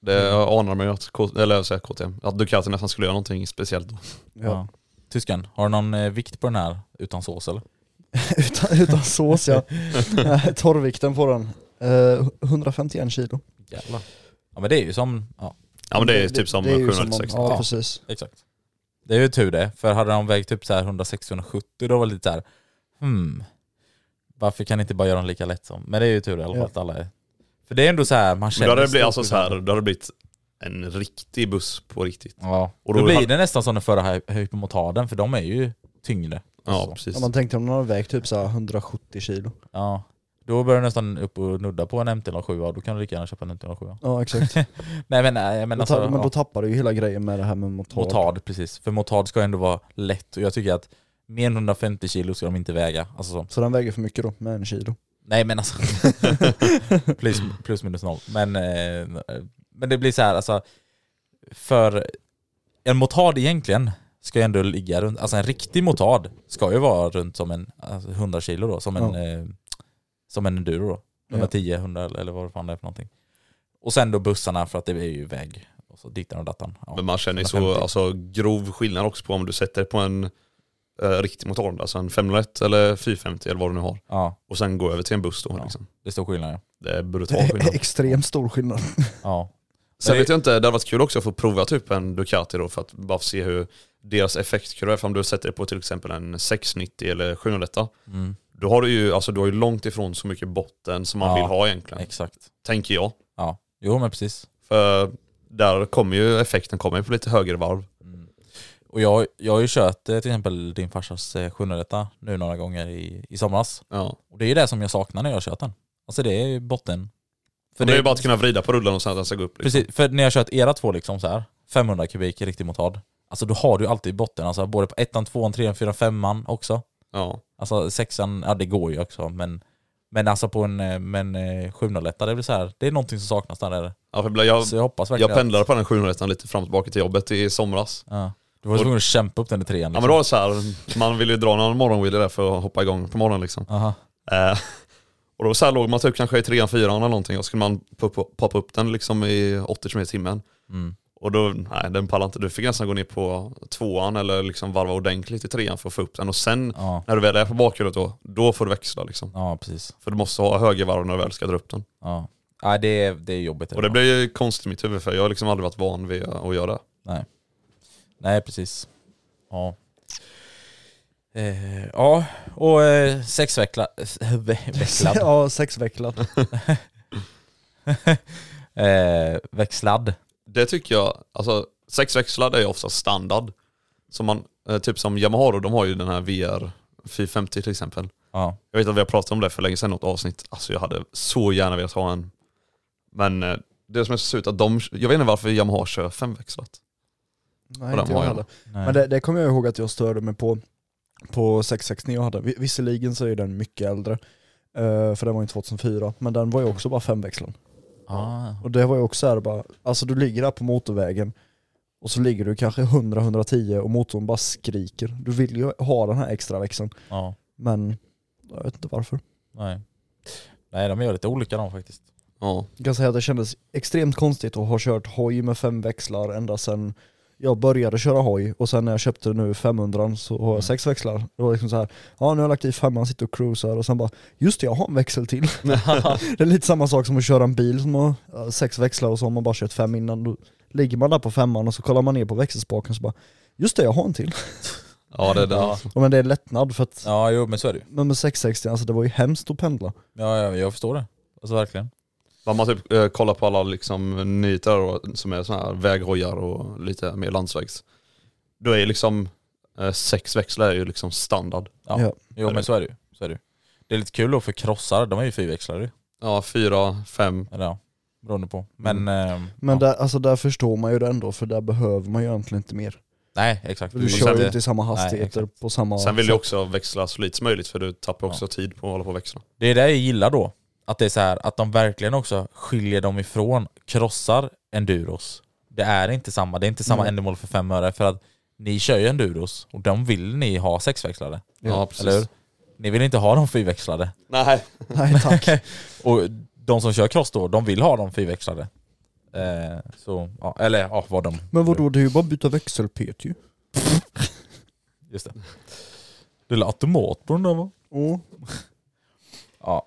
Det anar mig att, K- eller jag säger KTM, att Ducati nästan skulle göra någonting speciellt då. Ja. Tyskan, har du någon eh, vikt på den här utan sås eller? utan, utan sås ja. Nej, Torrvikten på den. Eh, 151 kilo. Jävlar. Ja men det är ju som, ja Ja men det är typ som det är ju 796. om- Ja. Ja precis. exakt. Det är ju tur det, för hade de vägt typ så här 160-170 då var det lite så här, hmm, varför kan ni inte bara göra dem lika lätt som? Men det är ju tur i alla fall Ja. att alla är... För det är ändå så här, man Men känner... då hade det blivit, stor alltså, så skillnad. här, då hade det liksom. blivit en riktig buss på riktigt. Ja, Och och då då, blir hade- det nästan som den förra hy- hypomotaden för de är ju tyngre. Ja Så. precis. Ja, man tänkte om den hade vägt typ så här 170 kilo. Ja. Då börjar du nästan upp och nudda på en MT-07 och då kan du lika gärna köpa en MT-07. Ja exakt. Nej men, nej, men Då ta- alltså, men då ja, tappar du ju hela grejen med det här med motard. motard precis. För motard ska ändå vara lätt och jag tycker att mer än 150 kilo ska de inte väga. Alltså så. Så den väger för mycket då, med en kilo. Nej men alltså, plus, plus minus noll. Men, eh, men det blir så här alltså, för en motard egentligen ska ju ändå ligga runt, alltså en riktig motard ska ju vara runt som en alltså 100 kilo då, som en, Ja. eh, som en enduro då. Ja. 110, 100 eller- eller vad fan det är för någonting. Och sen då bussarna för att det är ju väg och så dittan och dattan. Ja. Men man känner ju så 150. alltså, grov skillnad också på om du sätter på en eh, riktig motor, alltså en 501 eller 450 eller vad du nu har. ja, Och sen gå över till en buss då Ja. liksom. det är stor skillnad ja. Det är Det brutal är skillnad. extremt stor skillnad. ja. Sen det- vet jag inte, det hade varit kul också att få prova typ en Ducati då för att bara se hur deras effektkurva är. För om du sätter på till exempel en 690 eller 701 Mm, då har du ju, alltså, du har ju långt ifrån så mycket botten som man Ja. vill ha egentligen. exakt. Tänker jag. Ja, jo men precis. För där kommer ju effekten kommer ju på lite högre varv. Och jag, jag har ju kört eh, till exempel din farsas eh, 700 nu några gånger i, i somras. Ja. Och det är ju det som jag saknar när jag har kört den. Alltså det är ju botten. För det är ju bara att kunna vrida på rullen och sen att den ska gå upp. Liksom. Precis, för när jag har kört era två liksom så här, 500 kubik riktig motard. Alltså då har du ju alltid botten, alltså både på ettan, tvåan, trean, fyran, femman också. Ja. Alltså sexan, ja det går ju också men men alltså på en, eh, men, eh, 700 det blir så här, det är någonting som saknas där. Eller? Ja, för jag, Så jag hoppas verkligen jag pendlade på den 701 lite fram och tillbaka till jobbet i somras. Att, ja. Du var tvungen att kämpa upp den i trean. Ja Liksom. men då var det så här, man vill ju dra någon morgonwheelie där för att hoppa igång på morgonen liksom. Aha. Eh, Och då så här låg man typ kanske i trean, fyran eller någonting och så skulle man poppa- poppa upp den liksom i 80 km i timmen. Mm. Och då, nej den pallade inte. Du fick nästan gå ner på tvåan eller liksom varva ordentligt i trean för att få upp den. Och sen Ja, när du väl är på bakhjulet då, då får du växla liksom. ja precis. För du måste ha högervarv när du väl ska dra upp den. Ja. Ja, det, är, det är jobbigt. Och det blir ju konstigt i mitt huvud för jag har liksom aldrig varit van vid att göra det. Nej, precis. Ja. Eh, ja, och eh, sexveckla... vä- Växlad. ja, sexvecklad. eh, växlad. Det tycker jag, alltså sexväxlade är ju ofta standard. Som man, eh, typ som Yamaha då, de har ju den här VR 450 till exempel. Ja. Jag vet att vi har pratat om det för länge sedan i något avsnitt. Alltså jag hade så gärna velat ha en. Men eh, det som är så surt att de, jag vet inte varför Yamaha kör femväxlat. Nej, Och den inte har jag jag. heller. Nej. Men det, det kommer jag ihåg att jag störde mig på på 669 jag hade. Vi- Visserligen så är den mycket äldre, eh, för den var ju 2004, men den var ju också bara femväxlad. Ah. Och det var ju också så här bara, alltså du ligger där på motorvägen och så ligger du kanske 100-110 och motorn bara skriker. Du vill ju ha den här extra växeln, Ja. men jag vet inte varför. Nej. Nej, de gör lite olika de faktiskt. Ja. Jag kan säga att det kändes extremt konstigt att ha kört hoj med fem växlar ända sedan jag började köra hoj och sen när jag köpte nu 500 så har Mm. jag sex växlar. Det var liksom så här, ja nu har jag lagt i femman, sitter och cruisar och sen bara, just det jag har en växel till. det är lite samma sak som att köra en bil som har ja, sex växlar och så har man bara kört fem innan. Då ligger man där på femman och så kollar man ner på växelspaken och så bara, just det jag har en till. Ja det är det. Ja. Och men det är lättnad för att, Ja, jo men så är det ju. men med 660 alltså det var ju hemskt att pendla. Ja, ja, jag förstår det. Alltså verkligen. Vad man typ eh, kollar på alla liksom, nyheter och, som är såna här väghojar och lite mer landsvägs. Då är ju liksom eh, sex växlar är ju liksom standard. Ja. Ja. Jo men så är det ju. Så är det. ju. det är lite kul då för krossar, de är ju fyrväxlare ju. Ja, fyra, fem. Eller ja, beroende på. Men... ehm, Men ja. där, alltså där förstår man ju det ändå för där behöver man ju egentligen inte mer. Nej, exakt. Du, vill kör sen- ju inte i samma Nej, hastigheter exakt. på samma... Sen vill du också växla så lite som möjligt för du tappar också tid på att hålla på och växla. Det är det jag gillar då. Att det är så här, att de verkligen också skiljer dem ifrån krossar enduros. Det är inte samma, det är inte samma Mm. ändamål för fem öre för att ni kör ju enduros och de vill ni ha sexväxlade. Ja, precis. Eller hur? Ni vill inte ha dem fyrväxlade. Nej. Nej tack. Och de som kör cross då, de vill ha dem fyrväxlade. Eh, så, ja, eller ja, vad de... Men vadå, det är ju bara att byta växelpet ju. Just det. Lilla automat på den där va? Oh. Ja.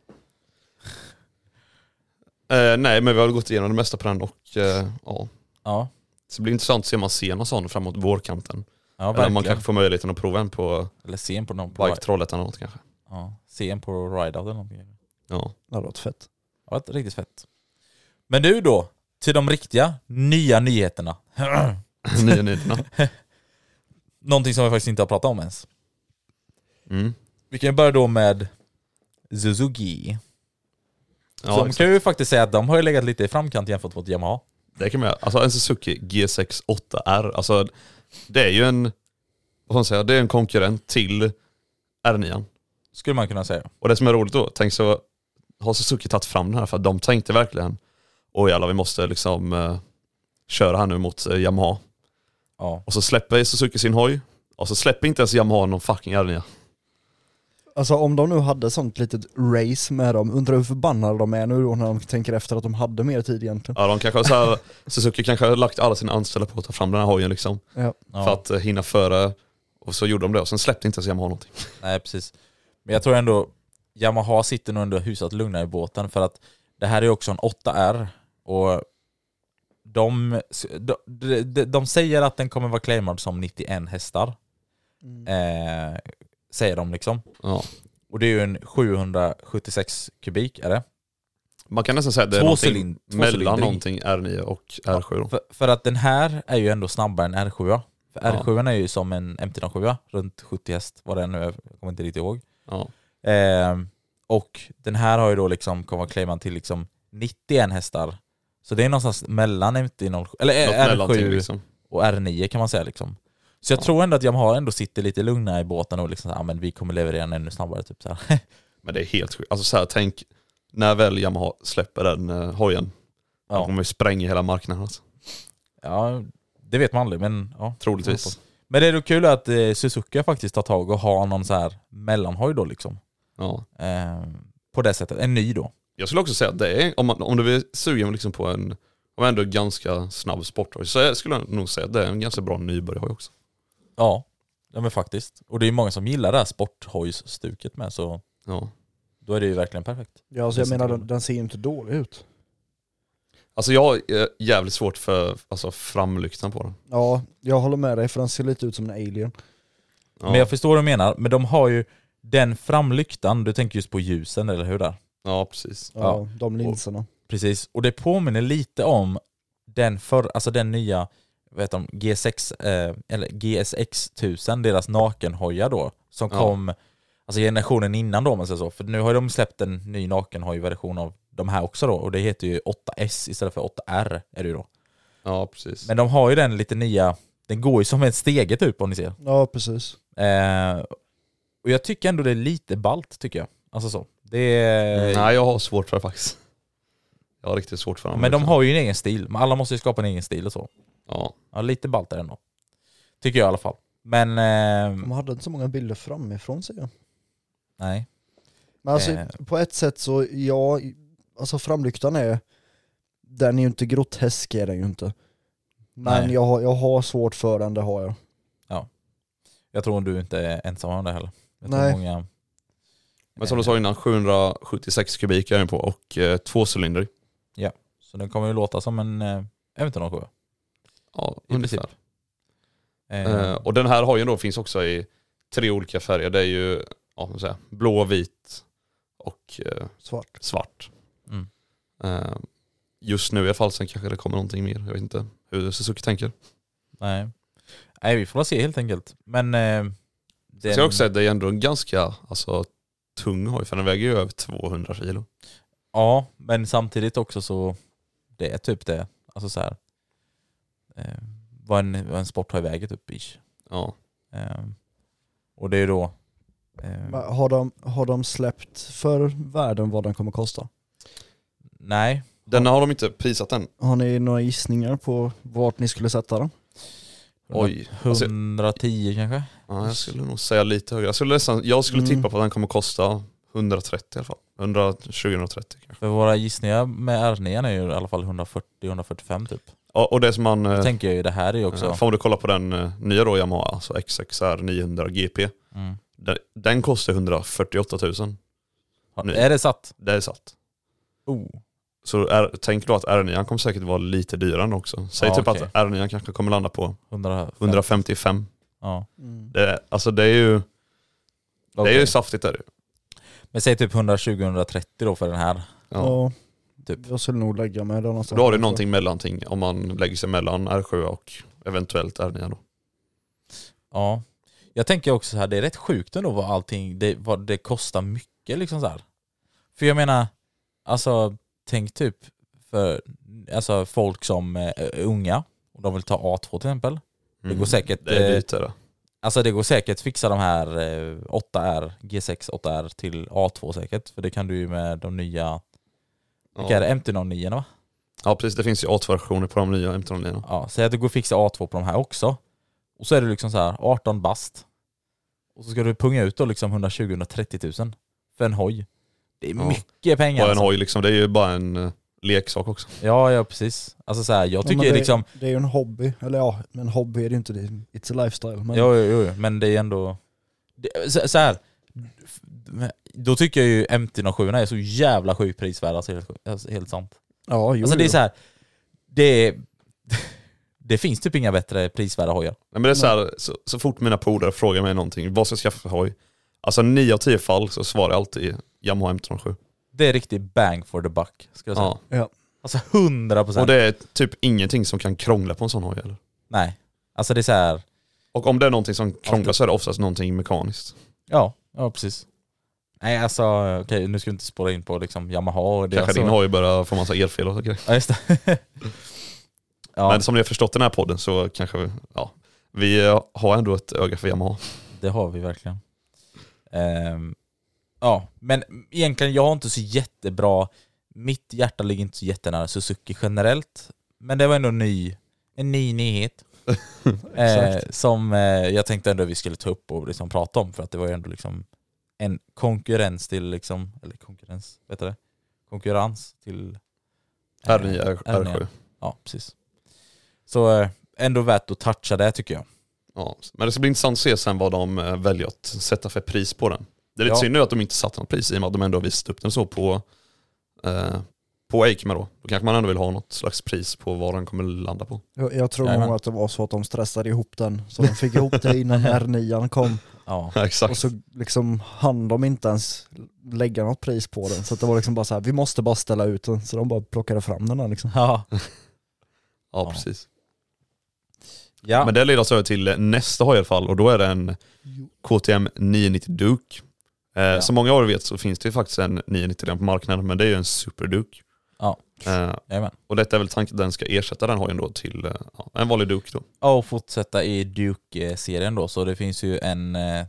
Eh, nej, men vi har väl gått igenom det mesta på den och eh, ja. Ja. Så det blir intressant att se om man ser någon sån framåt vårkanten. Ja, Eller verkligen. om man kanske får möjligheten att prova en på Eller sen på någon... På Bike Trollhättan eller något kanske. ja. Sen på rideout eller någonting. Ja. Det hade varit fett. Ja, det är riktigt fett. Men du då, till de riktiga nya nyheterna. Nya nyheterna. Någonting som vi faktiskt inte har pratat om ens. Mm. Vi kan ju börja då med Suzuki. Ja, som exakt. kan ju faktiskt säga att de har ju legat lite i framkant jämfört mot Yamaha. det kan man göra. Alltså en Suzuki G6 8R, alltså det är ju en, vad ska man säga, det är en konkurrent till R9. Skulle man kunna säga. Och det som är roligt då, tänk så har Suzuki tagit fram den här för att de tänkte verkligen, oj jävlar vi måste liksom eh, köra här nu mot eh, Yamaha. Ja. Och så släpper Suzuki sin hoj, och så släpper inte ens Yamaha någon fucking R9. Alltså om de nu hade sånt litet race med dem, undrar hur förbannade de är nu då när de tänker efter att de hade mer tid egentligen. Ja, de kanske har så här, Suzuki kanske har lagt alla sina anställda på att ta fram den här hojen liksom. Ja. Ja. För att eh, hinna före. Och så gjorde de det och sen släppte inte ens Yamaha någonting. Nej, precis. Men jag tror ändå Yamaha sitter nog ändå hyfsat lugna i båten för att det här är också en 8R och de, de, de, de säger att den kommer vara claimad som 91 hästar. Eh, säger de liksom. Ja. Och det är ju en 776 kubik är det. Man kan nästan säga att det är Två någonting cylin- två mellan cylindrig. någonting R9 och R7 då. För, för att den här är ju ändå snabbare än R7. För Ja. R7 är ju som en MT-07, runt 70 häst, vad den nu är, jag kommer inte riktigt ihåg. Ja. Ehm, och den här har ju då liksom kommer att claima till liksom 91 hästar. Så det är någonstans mellan MT-07, eller Något R7 mellanting liksom. och R9 kan man säga liksom. Så jag tror ändå att Yamaha ändå sitter lite lugna i båten och liksom så här, "Ah, men vi kommer leverera den ännu snabbare typ så här. Men det är helt sjukt. Alltså så här, tänk när väl Yamaha släpper den eh, hojen. Ja. De kommer ju spränga hela marknaden alltså. Ja, det vet man aldrig men ja. Troligtvis. Men det är då kul att eh, Suzuki faktiskt tar tag och har någon så här mellanhoj då liksom. Ja. Ehm, på det sättet, en ny då. Jag skulle också säga att det är, om, man, om du är sugen liksom på en, om ändå ganska snabb sporthoj, så jag skulle jag nog säga att det är en ganska bra nybörjarhoj också. Ja, ja men faktiskt. Och det är ju många som gillar det här sporthojsstuket med så Ja. då är det ju verkligen perfekt. Ja, alltså jag menar den, den ser ju inte dålig ut. Alltså jag har eh, jävligt svårt för alltså, framlyktan på den. Ja, jag håller med dig för den ser lite ut som en alien. Ja. Men jag förstår vad du menar, men de har ju den framlyktan, du tänker just på ljusen eller hur där? ja, precis. Ja, Ja. de linserna. Precis, och det påminner lite om den för, alltså den nya vad heter de, G6, eh, eller GSX 1000, deras nakenhoja då, som Ja. kom alltså generationen innan då om man säger så, för nu har de släppt en ny nakenhoj-version av de här också då, och det heter ju 8S istället för 8R är det ju då. Ja, precis. Men de har ju den lite nya, den går ju som en stege typ om ni ser. Ja, precis. Eh, och jag tycker ändå det är lite balt tycker jag. Alltså så. Det är, Mm, Nej, jag har svårt för det faktiskt. Jag har riktigt svårt för den. liksom. men de har ju en egen stil. Men alla måste ju skapa en egen stil och så. Ja. Ja, lite balt är det ändå. Tycker jag i alla fall. Men eh, De hade inte så många bilder framifrån ser jag. nej. Men alltså Eh. på ett sätt så, ja, alltså framlyktan är, den är ju inte grotesk är den ju inte. Men Nej. jag har, jag har svårt för den, det har jag. Jag tror du inte är ensam om det heller. Jag tror Nej. Många, Men som du sa innan, 776 kubik är den på och eh, tvåcylindrig. Så den kommer ju låta som en eh, eventuellt någon sjö. Ja, I princip. ungefär. Eh, Eh, och den här hojen då finns också i tre olika färger. Det är ju ja, vad ska jag säga, blå, vit och eh, Svart. svart. Mm. Eh, just nu i alla fall, sen kanske det kommer någonting mer. Jag vet inte hur Suzuki tänker. nej. nej, vi får väl se helt enkelt. Men eh, den, Jag ska också säga att det är ändå en ganska alltså, tung hoj, för den väger ju över 200 kilo. Ja, men samtidigt också så det är typ det. Alltså så här. Eh, vad en, vad en sport har i vägen typ. ish. Ja. Eh, och det är då... Men Eh, Har de, har de släppt för världen vad den kommer kosta? nej. Denna har de inte prisat än. Har ni några gissningar på vart ni skulle sätta den? Oj. Alltså, 110 kanske? ja, jag skulle nog säga lite högre. Jag skulle, nästan, jag skulle Mm. tippa på att den kommer kosta 130 i alla fall. 120-130 kanske. För våra gissningar med R9 är ju i alla fall 140-145 typ. Ja, och det som man... Då eh, tänker jag ju det här är ju också... Eh, För om du kollar på den eh, nya då Yamaha, alltså XXR 900 GP. Mm. Den, den kostar 148 000. Har- nu. Är det satt? Det är satt. Oh. Så är, tänk då att R9 kommer säkert vara lite dyrare än också. Säg Ja, typ okej. att R9 kanske kommer landa på 100, 155. Ja. Det, är- alltså det är ju, det är okej. ju saftigt är det ju. Men säg typ 120-130 då för den här. Ja. Ja, Typ. jag skulle nog lägga mig där Så någonstans. då har du någonting mellanting om man lägger sig mellan R7 och eventuellt R9 då. Ja. Jag tänker också så här, det är rätt sjukt ändå vad allting, det, vad det kostar mycket liksom så här. För jag menar, alltså tänk typ för alltså, folk som eh, är unga och de vill ta A2 till exempel. Det går säkert, Mm. Det är eh, lite det. Alltså det går säkert fixa de här eh, 8R, G6 8R till A2 säkert. För det kan du ju med de nya, vilka är Ja. det, MT09 va? ja precis, det finns ju A2-versioner på de nya M309. Ja, säg att det går att fixa A2 på de här också. Och så är det liksom så här 18 bast. Och så ska du punga ut då liksom 120-130 000 för en hoj. Det är Ja. mycket pengar Bara en alltså. hoj liksom, det är ju bara en eh, leksak också. Ja, ja precis. Alltså så här, jag tycker men det, liksom, det är ju en hobby, eller ja, men hobby är det ju inte, det är- it's a lifestyle. Men jo, jo, jo, men det är ändå... Det, så, så här. f- Då tycker jag ju MT-07 är så jävla sjukt prisvärda, alltså, helt, alltså, helt sant. ja, jo, alltså det är jo. så här, det, det finns typ inga bättre prisvärda hojar. Nej, men det är så, här, så, så fort mina polare frågar mig någonting, vad ska jag skaffa för hoj? Alltså 9 av 10 fall så svarar jag alltid Yamaha M307. Det är riktigt bang for the buck, skulle jag Ja. säga. Ja. Alltså 100 procent. Och det är typ ingenting som kan krångla på en sån hoj eller? Nej. Alltså det är så här, Och om det är någonting som krånglar så är det oftast någonting mekaniskt. ja, ja precis. Nej alltså, okej nu ska vi inte spåra in på liksom Yamaha och det. Kanske din alltså, hoj börjar få massa elfel och så grejer. Ja just det. ja, Men som ni har förstått den här podden så kanske vi, ja, vi eh, har ändå ett öga för Yamaha. det har vi verkligen. Ehm, ja, men egentligen jag har inte så jättebra, mitt hjärta ligger inte så jättenära Suzuki generellt. Men det var ändå en ny, en ny nyhet. eh, som eh, jag tänkte ändå vi skulle ta upp och liksom prata om för att det var ju ändå liksom en konkurrens till liksom, eller konkurrens, vet du det? Konkurrens till eh, R9, R7. Ja, precis. Så eh, ändå värt att toucha det tycker jag. Ja. Men det ska bli intressant att se sen vad de eh, väljer att sätta för pris på den. Det är lite Ja. synd nu att de inte satte något pris i och med att de ändå har visat upp den så på, eh, på Eikma då. Då kanske man ändå vill ha något slags pris på vad den kommer landa på. Jag, jag tror Jajamän. nog att det var så att de stressade ihop den, så de fick ihop det innan R9 kom. Ja, Exakt. Och så liksom hann de inte ens lägga något pris på den. Så att det var liksom bara så här, vi måste bara ställa ut den. Så de bara plockade fram den här liksom. ja. ja, Ja. precis. ja. Men det leder oss över till nästa hoj i alla fall och då är det en KTM 990 Duke. Eh, Ja. Som många av er vet så finns det ju faktiskt en 990 redan på marknaden men det är ju en Super Duke. Ja. Eh, Jajamän. och detta är väl tanken att den ska ersätta den hojen då till eh, ja, en vanlig Duke då. Ja, och fortsätta i Duke-serien då, så det finns ju en, eh,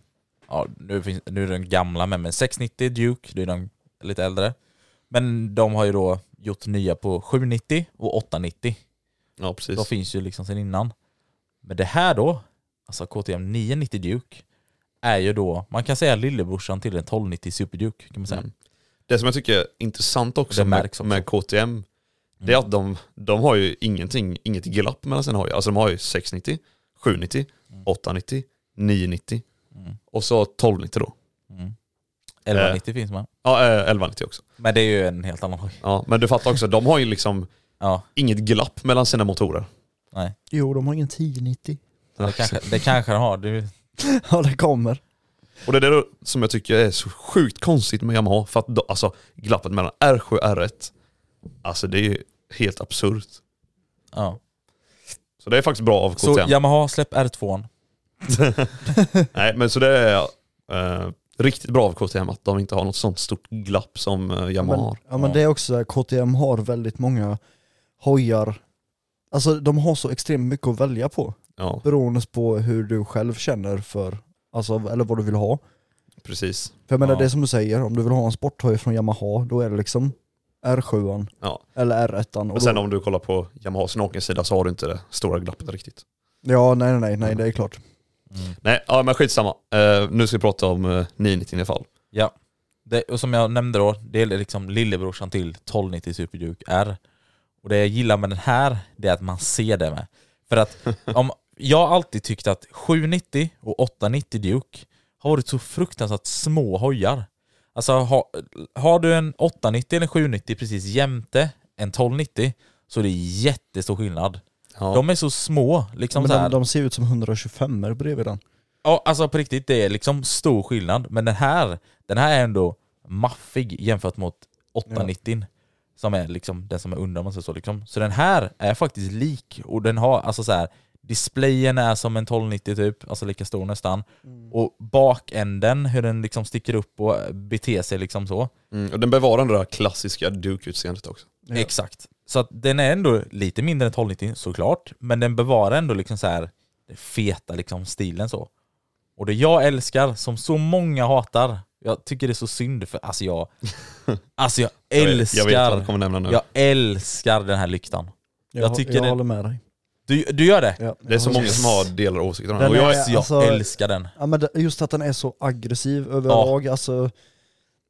ja nu, finns, nu är den gamla med, men 690 Duke, det är den lite äldre. Men de har ju då gjort nya på 790 och 890. Ja precis. De finns ju liksom sedan innan. Men det här då, alltså KTM 990 Duke, är ju då, man kan säga lillebrorsan till en 1290 Super Duke kan man säga. Mm. Det som jag tycker är intressant också Det med, märks också. Mm. med KTM, det är att de, de har ju ingenting, inget glapp mellan sina hojar. Alltså de har ju 690, 790, 890, 990 Mm. och så 1290 då. Mm. 1190 finns med. Ja, eh, 1190 också. Men det är ju en helt annan hoj. Ja, men du fattar också, de har ju liksom Ja, inget glapp mellan sina motorer. nej. Jo, de har ingen 1090. Det kanske, det kanske den har. Du, Ja, det kommer. Och det är det då som jag tycker är så sjukt konstigt med Yamaha, för att då, alltså, glappet mellan R7 och R1, alltså det är ju helt absurt. ja. Så det är faktiskt bra av Så KTM. Yamaha, släpp R2. Nej, men så det är eh, riktigt bra av KTM att de inte har något sånt stort glapp som eh, Yamaha Men, har. ja, men Ja. det är också så här, KTM har väldigt många hojar. Alltså de har så extremt mycket att välja på. Ja, Beroende på hur du själv känner för, alltså, eller vad du vill ha. precis. För jag menar Ja. det är som du säger, om du vill ha en sporthoj från Yamaha, då är det liksom R7 Ja. eller R1. Men sen om du kollar på Yamahas nakensida så har du inte det stora glappet riktigt. Ja, nej, nej, nej, nej, det är klart. Nej, ja, men skitsamma. Eh, nu ska vi prata om eh, 990 i alla fall. Ja. Det, och som jag nämnde då, det är liksom lillebrorsan till 1290 Super Duke R. Och det jag gillar med den här, det är att man ser det med. För att om, jag har alltid tyckt att 790 och 890 Duke har varit så fruktansvärt små hojar. Alltså ha, har du en 890 eller 790 precis jämte en 1290 så är det jättestor skillnad. Ja. De är så små. Liksom Men så här. de, de ser ut som 125 er bredvid den. Ja, alltså på riktigt, det är liksom stor skillnad. Men den här, den här är ändå maffig jämfört mot 890 som är liksom den som är under om man säger så. Liksom. Så den här är faktiskt lik och den har alltså så här displayen är som en 1290 typ, alltså lika stor nästan. Och bakänden, hur den liksom sticker upp och beter sig liksom så. Mm, och den bevarar det där klassiska Duke-utseendet också. Exakt. Så att den är ändå lite mindre än 1290 såklart, men den bevarar ändå liksom så här den feta liksom stilen så. Och det jag älskar, som så många hatar, jag tycker det är så synd för alltså jag, alltså jag Jag vet- älskar, Jag vet vad du kommer nämna nu. jag älskar den här lyktan. Jag hå- tycker jag det- håller med dig. Du, du gör det? Ja. Det är så Ja, många yes. som har delar åsikter om Den den. Och jag är- är Så jag alltså- älskar den. Ja men det- just att den är så aggressiv överlag, alltså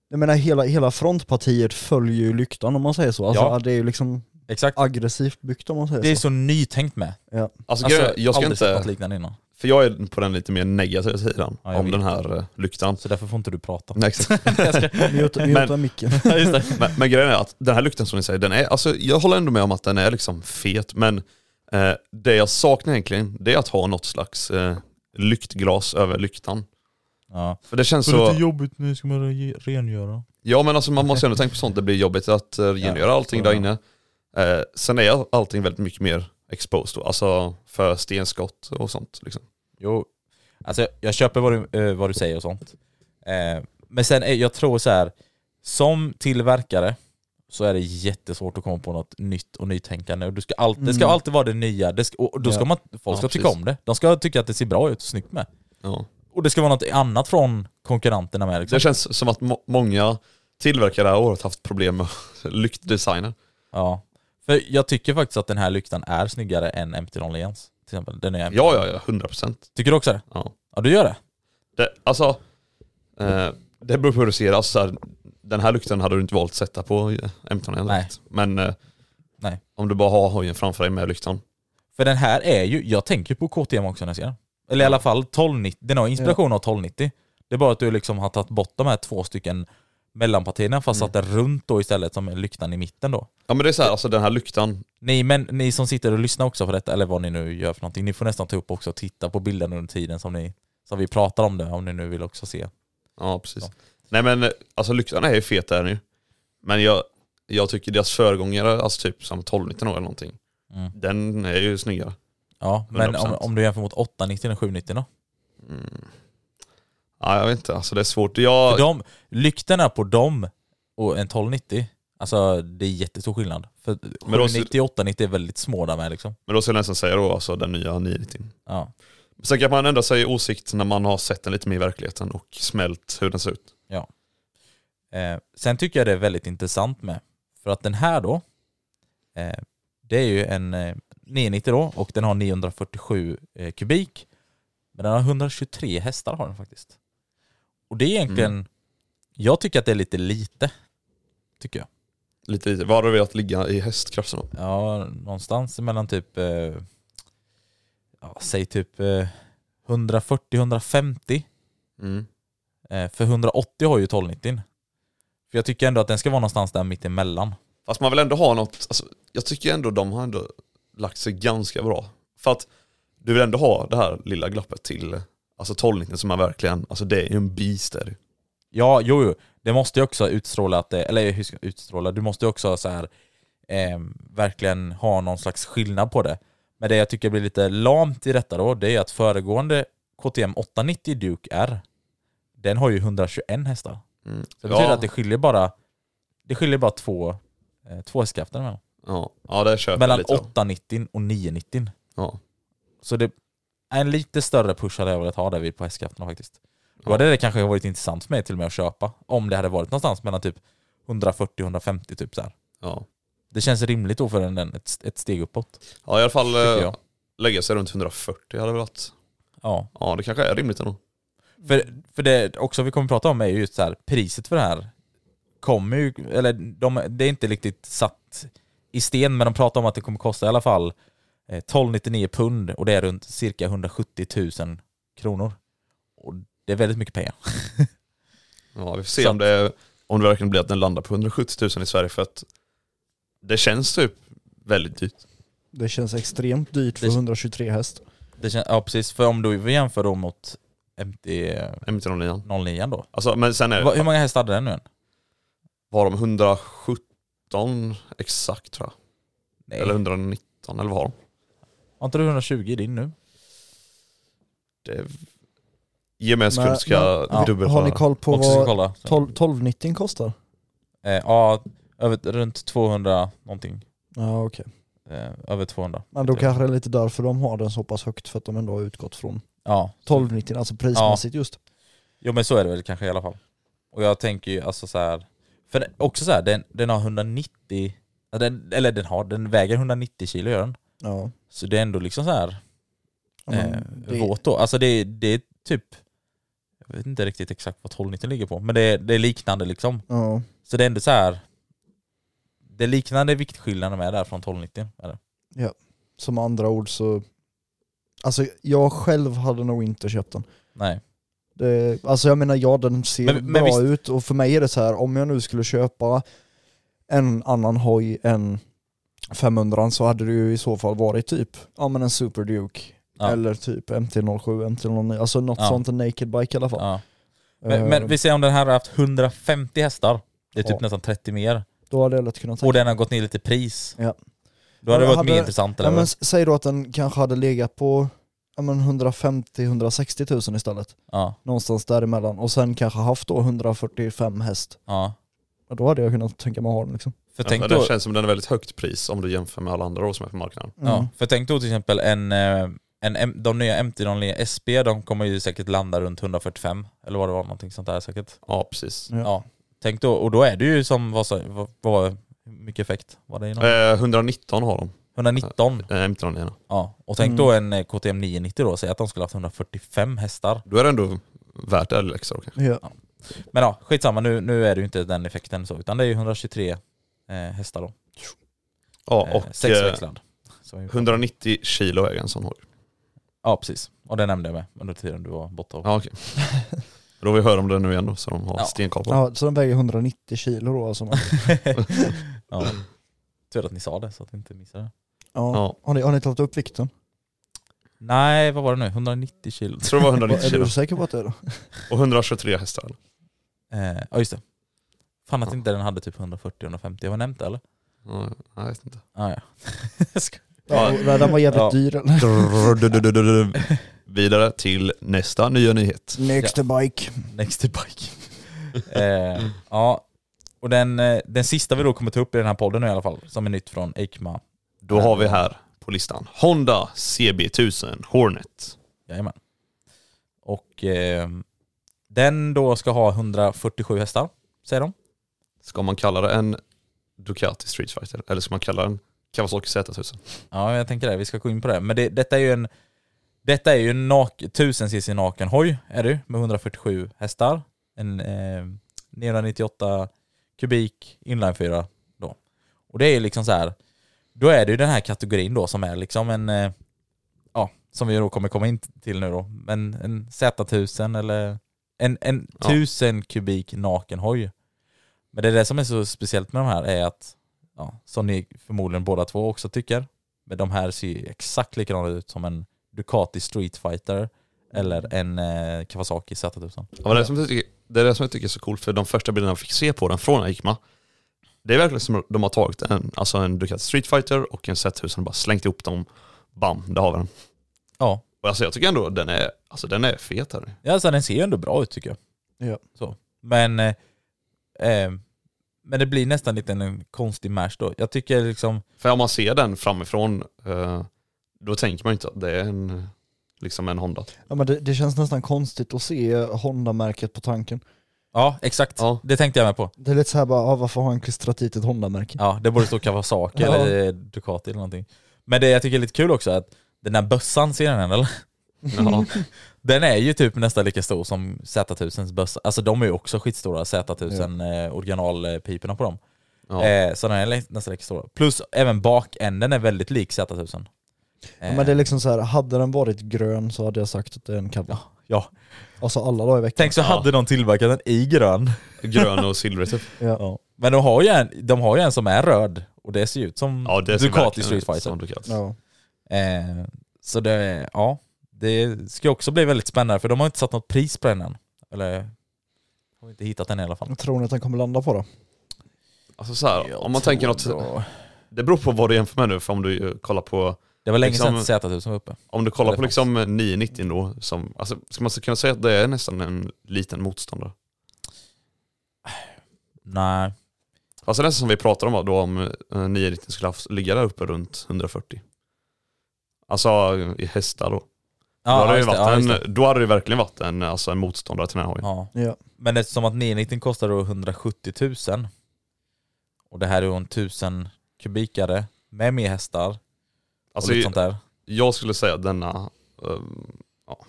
jag menar hela, hela frontpartiet följer ju lyktan om man säger så, alltså Ja. det är ju liksom Exakt. aggressivt byggt om man säger Det är så. så nytänkt med. Ja. Alltså, grejen är, jag ska aldrig sett inte, något liknande innan. för jag är på den lite mer negativa sidan Ja, jag om vet. den här eh, lyktan. Så därför får inte du prata. Nej, exakt. Mjuta, mjuta micken. men, men grejen är att den här lukten som ni säger, den är, alltså, jag håller ändå med om att den är liksom fet, men eh, det jag saknar egentligen det är att ha något slags eh, lyktglas över lyktan. Ja. För det känns Så det är så, jobbigt nu, ska man re- rengöra? ja men alltså man måste ju ändå tänka på sånt, det blir jobbigt att eh, rengöra allting där inne. Eh, sen är allting väldigt mycket mer exposed då, alltså för stenskott och sånt. Liksom. Jo, alltså jag, jag köper vad du, eh, vad du säger och sånt. Eh, men sen, är, jag tror så här. som tillverkare så är det jättesvårt att komma på något nytt och nytänkande. Och du ska all, Det ska Mm. alltid vara det nya, det ska, och då ska Ja. man, folk Ja, ska tycka precis. om det. De ska tycka att det ser bra ut och snyggt med. Ja. Och det ska vara något annat från konkurrenterna med. Liksom. Det känns som att må- många tillverkare det här året haft problem med lyktdesigner. Ja. För jag tycker faktiskt att den här lyktan är snyggare än MT-01 till exempel. Den är Ja, ja, ja, 100 procent. Tycker du också det? Ja. Ja du gör det? Det, alltså, eh, det beror på hur du ser det. alltså, så här, Den här lukten hade du inte valt att sätta på M10 direkt. Nej. Men eh, Nej. om du bara har hojen framför dig med lyktan. För den här är ju, jag tänker på KTM också när jag ser den. Eller i alla fall 1290, den har inspiration av 1290. Det är bara att du liksom har tagit bort de här två stycken mellanpartierna fast satt den runt då istället som är lyktan i mitten då. Ja men det är så här, alltså den här lyktan, Ni, men, ni som sitter och lyssnar också på detta, eller vad ni nu gör för någonting, ni får nästan ta upp också och titta på bilden under tiden som, ni, som vi pratar om det, om ni nu vill också se. ja precis. Ja. Nej men eh, alltså lyktan är ju fet där nu. Men jag, jag tycker deras föregångare, alltså typ som 1290 eller någonting, Mm. den är ju snyggare. Ja, men om, 100%. om du jämför mot 890 och 790 då? Ja, jag vet inte, alltså det är svårt. För Jag, de, lyktorna på dem och en 1290, alltså det är jättestor skillnad. För Men då- 790 och 890 är väldigt små där med liksom. men då ska jag nästan säga då alltså den nya 990. Ja. Sen kan man ändra sig i åsikt när man har sett den lite mer i verkligheten och smält hur den ser ut. Eh, sen tycker jag det är väldigt intressant med, för att den här då, eh, det är ju en eh, 990 då och den har 947 eh, kubik. Men den har 123 hästar har den faktiskt. Och det är egentligen, jag tycker att det är lite lite. Tycker jag. Lite, lite. Vad hade du velat ligga i hästkraften då? Ja, någonstans mellan typ, eh, ja, säg typ eh, 140-150 Mm. eh, för 180 har ju 1290. För jag tycker ändå att den ska vara någonstans där mitt emellan. Fast man vill ändå ha något, alltså, jag tycker ändå de har ändå lagt sig ganska bra. För att du vill ändå ha det här lilla glappet till alltså 1290 som är verkligen, alltså det är ju en beast där. Ja, jo, jo. Det måste ju också utstråla att det, eller hur ska jag utstråla, du måste ju också så här ehm, verkligen ha någon slags skillnad på det. Men det jag tycker blir lite lamt i detta då, det är att föregående KTM 890 Duke R, den har ju 121 hästar. Mm. Så det betyder ja, att det skiljer bara, det skiljer bara två, eh, två hästkrafter mellan. ja, ja, det köper jag Mellan lite. då. 890 och 990. Ja. Så det är en lite större push hade jag velat ha där vid på hästkrafterna faktiskt. Då Ja. hade det kanske varit intressant för mig till och med att köpa. Om det hade varit någonstans mellan typ 140-150 typ så här. Ja. Det känns rimligt då för en, en- ett, ett steg uppåt. ja, i alla fall eh, Tycker jag. lägga sig runt 140 hade velat. Ja. Ja, det kanske är rimligt ändå. För, för det också vi kommer prata om är ju just så här, priset för det här kommer ju, eller de, det är inte riktigt satt i sten men de pratar om att det kommer kosta i alla fall eh, 1299 pund och det är runt cirka 170 000 kronor. Och det är väldigt mycket pengar. Ja, vi får se Så om det, om det verkligen blir att den landar på 170 000 i Sverige för att det känns typ väldigt dyrt. Det känns extremt dyrt för Det- 123 häst. Det kän- ja precis, för om du jämför då mot MT-09 M309. då. Alltså, men sen är det, Va, hur många hästar hade den nu än? Var de 117 exakt tror jag? Nej. Eller 119 eller vad har de? Har inte du 120 i din nu? Det... Ge mig en sekund Men- ska jag men- ja, dubbelkolla. Har ni koll på Också ska vad kolla. Så. 12, 1290 kostar? Eh, ja, över, runt 200 någonting. Ja okej. Eh, över 200. Men då kanske det är lite därför de har den så pass högt för att de ändå har utgått från Ja. 1290, alltså prismässigt just. Jo men så är det väl kanske i alla fall. Och jag tänker ju alltså så här. För den- också så här, den, den har 190, ja, den, eller den har, den väger 190 kilo gör den. Ja. Så det är ändå liksom så här Ja, men eh, det- våt då. Alltså det, det är typ, jag vet inte riktigt exakt vad 1290 ligger på, men det, är- det är liknande liksom. Ja. Så det är ändå så här. Det är liknande viktskillnader med där från 1290. Eller? Som andra ord så... Alltså jag själv hade nog inte köpt den. Nej. Det, alltså jag menar ja, den ser Men- men bra visst- ut och för mig är det så här, om jag nu skulle köpa en annan hoj än 500 så hade det ju i så fall varit typ, ja men en Super Duke Ja. eller typ MT-07, MT-09, alltså något Ja. sånt, en naked bike i alla fall. Ja. Men, Eh, men vi säger om den här har haft 150 hästar. Det är typ Ja. nästan 30 mer. Då hade jag lätt kunnat Och tänka. den har gått ner lite i pris. Ja. Då hade det Men varit hade- mer intressant eller Ja, men vad? s- säg då att den kanske hade legat på ja, men 150-160 tusen istället, Ja, någonstans däremellan och sen kanske haft då 145 häst. ja. Ja, Då hade jag kunnat tänka mig att ha den liksom. För, Tänk tänk det då, känns som den är väldigt högt pris om du jämför med alla andra år som är på marknaden. Mm. ja, för tänk då till exempel en, eh, en, M- de nya MT-09 SP, de kommer ju säkert landa runt 145 eller vad det var, någonting sånt där säkert. Ja, precis. Ja. Ja. Tänk då, och då är det ju som, vad, sa- vad, vad hur mycket effekt var det? i någon? Mm. Eh, 119 har de, 119? eh, M309. Ja, och tänk då Mm. en eh, KTM 990 då, säg att de skulle haft 145 hästar. Då är det ändå värt det eller extra då kanske. Ja. Men ja, skitsamma, nu, nu är det ju inte den effekten så, utan det är ju 123 eh, hästar då. Ja, Eh, och eh, Sexväxlad. Som vi- 190 kilo är en sån hoj. Ja, precis. Och det nämnde jag med under tiden du var borta. och- Ja, okej. då har vi hört om den nu igen då, så de har Ja. stenkoll på den. Ja, så den väger 190 kilo då alltså. ja. Tur att ni sa det så att ni inte missade det. Ja. Ja. Har, ni, har ni tagit upp vikten? Nej, vad var det nu? 190 kilo? Jag tror det var 190 Är kilo. du säker på att det är det? Och 123 hästar. Eh, ja, just det. Fan att inte den hade typ 140-150. Har jag nämnt det eller? Ja, jag vet inte. Ah, ja. Jag skojar. Ja. Ja. Den var jävligt Ja. dyr eller? Vidare till nästa nya nyhet. Next bike. Next to bike. eh, ja, och den, eh, den sista vi då kommer ta upp i den här podden nu i alla fall, som är nytt från Eikma. Då har vi här på listan Honda CB1000 Hornet. Jajamän. Och eh, den då ska ha 147 hästar, säger de. Ska man kalla det en Ducati Street Fighter eller ska man kalla den Kawasaki Z1000? Ja, jag tänker det. Vi ska gå in på det. Men det, detta är ju en detta är ju en nak, 1000 cc naken hoj, är det ju, med 147 hästar. En eh, 998 kubik inlinefyra då. Och det är ju liksom så här, då är det ju den här kategorin då som är liksom en, eh, ja, som vi då kommer komma in till nu då, men en Z1000 eller en, en Ja. 1000 kubik naken hoj. Men det är det som är så speciellt med de här är att, ja, som ni förmodligen båda två också tycker, men de här ser ju exakt likadana ut som en Ducati Street Fighter eller en eh, Kawasaki Z1000. Ja, men det, är som jag tycker, det är det som jag tycker är så coolt för de första bilderna jag fick se på den från Ikma det är verkligen som de har tagit en, alltså en Ducati Street Fighter och en Z1000 och bara slängt ihop dem. Bam, där har vi den. Ja, Och alltså jag tycker ändå den är, alltså den är fet här. Ja, alltså den ser ju ändå bra ut tycker jag. Ja. Så. Men, eh, eh, men det blir nästan lite en konstig match då. Jag tycker liksom, För om man ser den framifrån, eh, då tänker man ju inte att det är en, liksom en Honda. Ja, men det, det känns nästan konstigt att se Honda-märket på tanken. ja exakt, Ja. det tänkte jag med på. Det är lite så här bara, ah, varför har han klistrat dit ett Honda-märke? Ja, det borde stå Kawasaki Ja. eller eh, Ducati eller någonting. Men det jag tycker är lite kul också är att den där bössan, ser ni den eller? Ja. Den är ju typ nästan lika stor som Z1000s bössa. Alltså de är ju också skitstora, Z1000 eh, originalpiporna på dem. Ja. Eh, så den är li- nästan lika stor. Plus även bakänden är väldigt lik Eh, Z1000. Ja, men det är liksom så här, hade den varit grön så hade jag sagt att det är en Kawa. ja. Alltså alla dagar i veckan. Tänk så hade de tillverkat den i grön. Grön och silvrig Mm. typ. Ja. Men de har, ju en, de har ju en som är röd och det ser ju ut som Ja, det ser Ducati verkligen Street ut som Fighter. Ducati. Ja. Eh, så det, ja, det ska också bli väldigt spännande för de har inte satt något pris på den än. Eller har inte hittat den i alla fall. Vad Tror ni att den kommer landa på då? Alltså så här, om man Jag tänker något, tror då- det beror på vad du jämför med nu, för om du eh, kollar på, Det var länge liksom- sedan Z1000 var uppe. om du kollar Ja, det på liksom 990 då, som, alltså, ska man kunna säga att det är nästan en liten motståndare? Nej, Alltså nästan som vi pratade om då, om eh, 990 skulle haft, ligga där uppe runt 140. Alltså i hästar då. Ja, då, hade det ju just det, ja, varit just en, då hade det verkligen varit en, alltså, en motståndare till den här hojen. ja. Ja. Men eftersom att 990 kostar då 170 000 och det här är då en 1000 kubikare med mer hästar Alltså, och lite sånt där. jag skulle säga att denna, ehm, ja,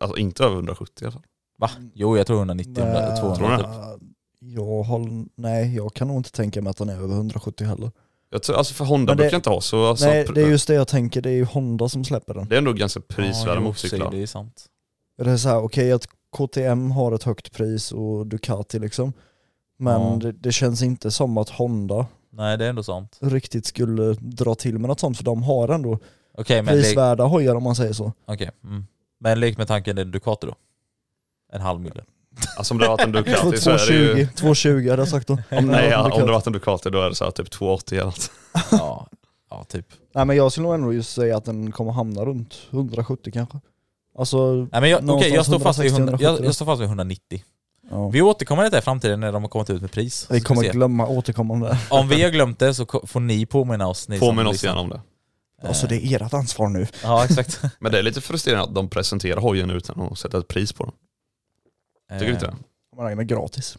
alltså inte över 170 i alla fall. Va? Jo, jag tror 190, 100, Tror 200 du typ. det? Eh, Jag har, nej, jag kan nog inte tänka mig att den är över 170 heller. Jag tror, alltså för Honda Men det- brukar inte ha så, alltså, nej, pr- det är just det jag tänker, det är ju Honda som släpper den. det är ändå ganska prisvärda Ja, jo, motorcyklar. Det är sant. Det är så här, okej att KTM har ett högt pris och Ducati liksom, men Ja. det, det känns inte som att Honda Nej, det är ändå sant. riktigt skulle dra till med något sånt, för de har ändå Okej, men, lek, prisvärda hojar om man säger så. okej, mm. men lek med tanken, det är Ducati då? En halv mille. Alltså om det hade varit en Ducati så är det 220, ju, 220 hade jag sagt då. om, nej, Ja, ja, om det Ducati. varit en Ducati då är det så här typ 280 eller något. Ja, ja typ. Nej men jag skulle nog ändå just säga att den kommer hamna runt 170 kanske. Alltså, Nej, men jag, okej, jag, Någonstans står fast vid 100 jag, 160, jag står fast vid 190. ja. Vi återkommer till det i framtiden när de har kommit ut med pris. Så vi ska vi kommer se. glömma återkommande. Om vi har glömt det så ko- får ni påminna oss. Ni som Påminn oss lyssnar. igen om det. Eh, Alltså det är ert ansvar nu. Ja, exakt. Men det är lite frustrerande att de presenterar hojen utan att sätta ett pris på den. Tycker du inte Eh, det? Man räknar gratis.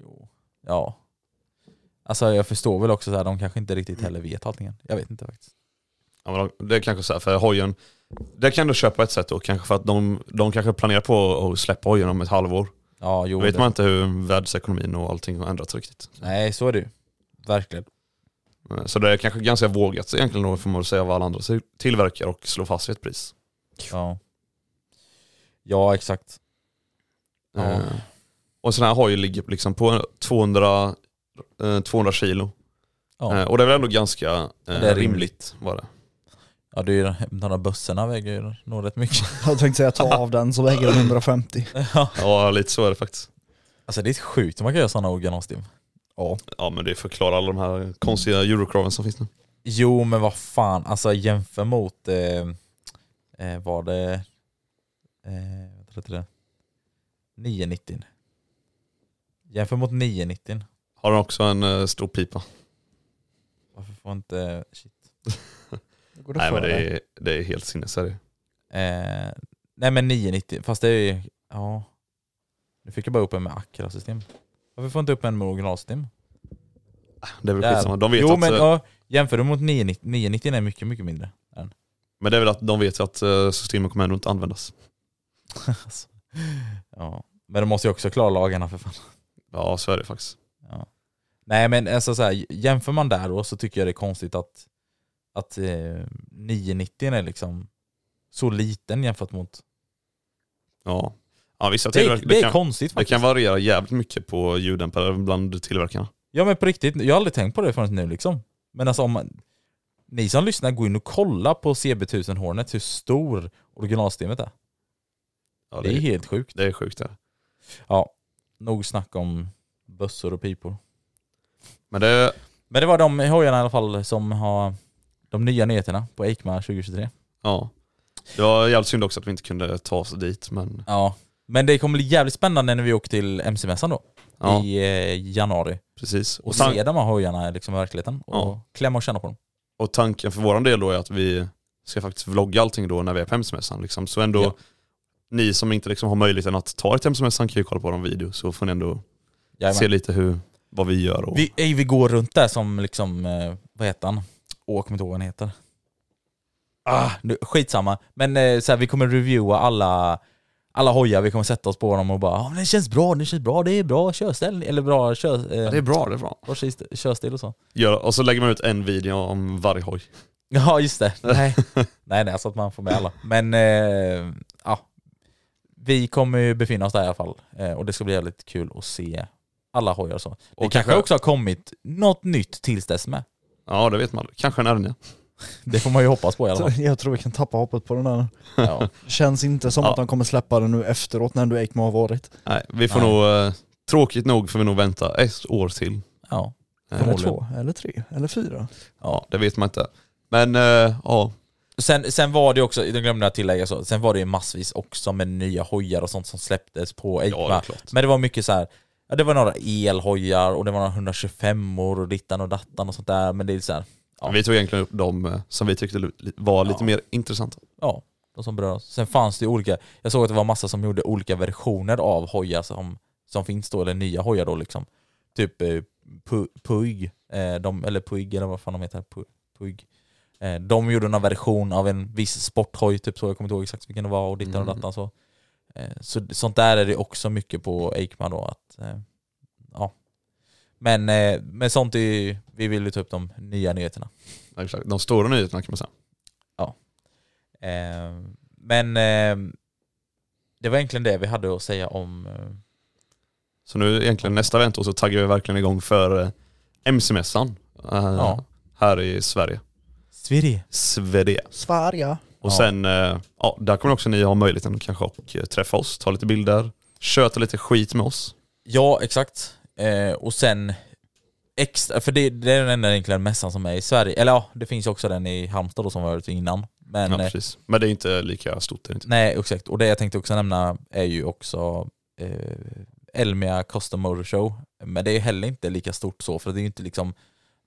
Jo. Ja. Alltså jag förstår väl också så här, de kanske inte riktigt heller vet allting än. Jag vet inte faktiskt. Ja, men de- det är kanske så här, för hojen, det kan du köpa ett sätt då kanske för att de, de kanske planerar på att släppa hojen om ett halvår. Ja, jo. Då vet det- man inte hur världsekonomin och allting har ändrats riktigt. Eh, Nej, så är det ju. Verkligen. Så det är kanske ganska vågat egentligen då får man väl säga vad alla andra till- tillverkar och slå fast vid ett pris. Ja. Ja, exakt. Ja. Eh, Och sådana här hoj ligger liksom på 200, eh, 200 kilo. Ja, Eh, och det är väl ändå ganska eh, är rimligt. rimligt. var det. ja det är ju, de där bössorna väger ju nog rätt mycket. Jag tänkte säga ta av den så väger den 150. ja. Ja lite så är det faktiskt. Alltså det är sjukt hur man kan göra sådana organostium. Ja men det förklarar alla de här konstiga eurocraven som finns nu. Jo men vad fan, alltså jämför mot, eh, eh, var det, eh, vad heter det, 990. Jämför mot 990. Har den också en eh, stor pipa? Varför får inte, shit. Går Nej men för det dig? är, det är helt sinnes är det. Eh, nej men 990, fast det är ju, ja. Nu fick jag bara upp en med Acra-system. Varför får jag inte upp en med originalsystem? Det är väl Där. skitsamma. De vet jo att, men eh, ja, jämför du mot 990, 990 är mycket, mycket mindre. Än. men det är väl att de vet att eh, systemet kommer ändå inte användas. Alltså. Ja. Men de måste ju också klara lagarna för fan. Ja så är det faktiskt. Ja. Nej men alltså så här, jämför man där då så tycker jag det är konstigt att, att eh, 990 är liksom så liten jämfört mot... Ja. Ja vissa Det är, tillverkare, det det, är kan, konstigt det faktiskt. kan variera jävligt mycket på ljuddämpare bland tillverkarna. Ja men på riktigt, jag har aldrig tänkt på det förrän nu liksom. Men alltså om man, ni som lyssnar, gå in och kolla på CB1000 Hornet hur stor originalsystemet är. Ja, det, är helt sjukt. det är sjukt det. Ja, nog snack om bössor och pipor. Men det, Men det var de hojarna i alla fall som har de nya nyheterna på Eikma 2023. ja. Det var jävligt synd också att vi inte kunde ta oss dit men Ja. Men det kommer bli jävligt spännande när vi åker till MC-mässan då. ja, I eh, januari. precis. Och Och, tan- se de här hojarna liksom i verkligheten. Och Ja. klämma och känna på dem. och tanken för våran del då är att vi ska faktiskt vlogga allting då när vi är på hemsemässan liksom. Så ändå, Ja. ni som inte liksom har möjligheten att ta er till hemsemässan kan ju kolla på vår video så får ni ändå Jajamän. se lite hur, vad vi gör och Vi, ey, vi går runt där som liksom, eh, vad heter han? Åh, jag kommer inte ihåg vad han heter. Ah, nu, skitsamma. Men eh, så här, vi kommer reviewa alla, alla hojar, vi kommer sätta oss på dem och bara ah, men det känns bra, det känns bra, det är bra körställ, eller bra kör, eh, Ja, det är bra, det är bra. bra körst- körstil och så. Gör, och så lägger man ut en video om varje hoj. Ja just det, nej. nej nej, så att man får med alla. Men eh, ja, vi kommer ju befinna oss där i alla fall. Eh, och det ska bli jävligt kul att se alla hojar och så. Det Och kanske kanske- också har kommit något nytt tills dess med. Ja det vet man Kanske en Ernia. Det får man ju hoppas på i alla fall. Jag tror vi kan tappa hoppet på den här. Ja. Känns inte som Ja. att de kommer släppa den nu efteråt när ändå Ekman har varit. Nej, vi får Nej. nog, eh, tråkigt nog får vi nog vänta ett år till. Ja. Eh, Eller Förmodligen. två, eller tre, eller fyra. Ja, det vet man inte. Men eh, ja, Sen, sen var det också, det glömde jag tillägga, så, sen var det ju massvis också med nya hojar och sånt som släpptes på Eikma. ja det är klart. Men det var mycket så här. Ja, det var några elhojar och det var några 125 or och dittan och dattan och sånt där. Men det är så här, Ja. Vi tog egentligen upp de eh, som vi tyckte li- var lite Ja. mer intressanta. ja, de som berör oss. Sen fanns det ju olika, jag såg att det var massa som gjorde olika versioner av hojar som, som finns då, eller nya hojar då liksom. Typ eh, Pu- Puig, eh, de, eller Puig eller vad fan de heter, Pu- Puig. Eh, de gjorde någon version av en viss sporthoj, typ så, jag kommer inte ihåg exakt vilken det var och dittan och Mm. dattan så. Eh, så. Sånt där är det också mycket på Eikman då att, eh, ja. Men eh, med sånt är ju, vi vill ju ta upp de nya nyheterna. Ja, exakt. De stora nyheterna kan man säga. Eh, men eh, det var egentligen det vi hade att säga om eh, Så nu egentligen nästa väntor så taggar vi verkligen igång för eh, MC-mässan eh, Ja. här i Sverige. Sverige. Sverige. Sverige. Och Ja. sen, eh, ja, där kommer också ni ha möjligheten kanske att eh, träffa oss, ta lite bilder, köta lite skit med oss. Ja, exakt. Eh, och sen extra, för det, det är den enda egentligen mässan som är i Sverige. Eller ja, det finns ju också den i Halmstad då som var ute innan. Men ja, eh, precis. Men det är inte lika stort. Det är inte. nej, exakt. Och det jag tänkte också nämna är ju också eh, Elmia Custom Motor Show. Men det är ju heller inte lika stort så, för det är ju inte liksom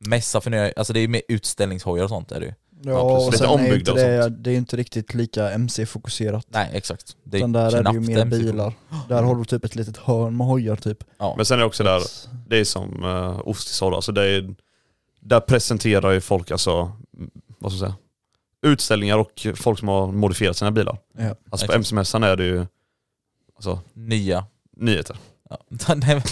mässa för nya, alltså det är ju mer utställningshojar och sånt är det ju. Ja, Ja, precis. Lite och sen är ju ombyggda inte och det, det är ju inte riktigt lika MC-fokuserat. Nej, exakt. Det Utan där är det ju knappt Mm. mer MC. bilar. Där har du typ ett litet hörn med hojar typ. Ja, Men sen är det också där, det är som uh, Osti sa då, alltså det är, där presenterar ju folk alltså, mm, vad ska jag säga, utställningar och folk som har modifierat sina bilar. Ja. Alltså på Exakt. MC-mässan är det ju alltså, nya. nyheter. Ja. Nej,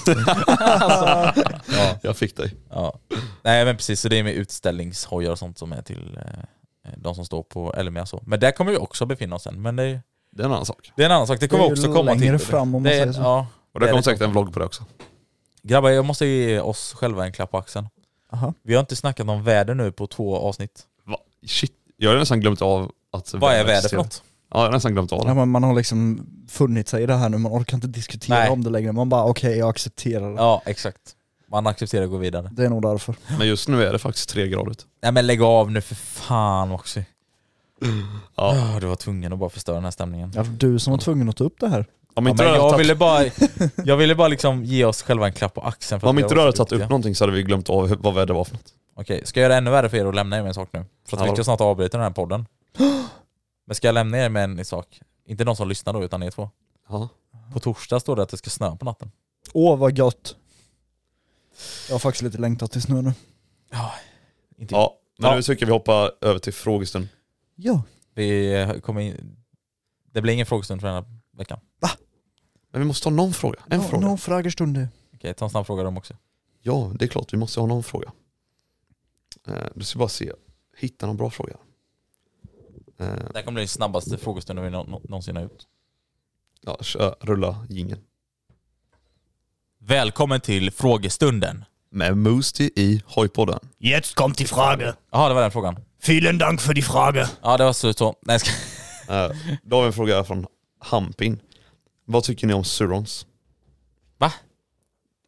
men- alltså, ja. Jag fick dig. Ja. Nej men precis, så det är med utställningshojar och sånt som är till eh, de som står på Elmia så. Men där kommer vi också befinna oss sen. Men det är, Det är en annan sak. det är en annan sak, det kommer Det är ju också komma till. längre fram om man det, är- säger så. Ja. Och det är kommer det säkert en vlogg på det också. Grabbar, jag måste ge oss själva en klapp på axeln. Aha. Vi har inte snackat om väder nu på två avsnitt. Va? Shit, jag har nästan glömt av att... Vad är väder för existerar. något? Ja, jag har nästan glömt av Ja, det. man, man har liksom funnit sig i det här nu, man orkar inte diskutera Nej. om det längre. Man bara okej, jag accepterar det. Ja, exakt. Man accepterar att gå vidare. Det är nog därför. Men just nu är det faktiskt tre grader ute. Nej men lägg av nu för fan också. Ja. Ah, du var tvungen att bara förstöra den här stämningen. Ja, du som var tvungen att ta upp det här. Om Ja, inte men du hade jag, tagit- ville bara, jag ville bara liksom ge oss själva en klapp på axeln. för om att inte vi du har hade varit tagit upp duktiga. någonting så hade vi glömt av hur- vad väder var för något. Okej, ska jag göra det ännu värre för er och lämna er med en sak nu? För att vi Ja. ska snart avbryta den här podden. Men ska jag lämna er med en sak? Inte de som lyssnar då, utan er två. Ja. På torsdag står det att det ska snöa på natten. Åh vad gott! Jag har faktiskt lite längtat till snö nu. Inte ja. Men Ja. nu tycker jag vi hoppar över till frågestund. Ja. Vi eh, kommer in... Det blir ingen frågestund för den här veckan. Men vi måste ha någon fråga. En Ja, fråga. Någon frågestund nu. Okej, ta en snabb fråga dem också. Ja, det är klart. Vi måste ha någon fråga. Eh, du ska bara se. Hitta någon bra fråga. Eh, Det här kommer bli den snabbaste frågestunden vi nå- nå- någonsin har gjort. ja, kör, rulla jingeln. Välkommen till frågestunden. Med Moosty i Hojpodden. Jetzt kommt die Frage. Jaha, det var den frågan. Vielen Dank för die Frage. Ja, det var slut så. Nej, jag ska... Eh, då har vi en fråga från Hampin. Vad tycker ni om Surons? Va?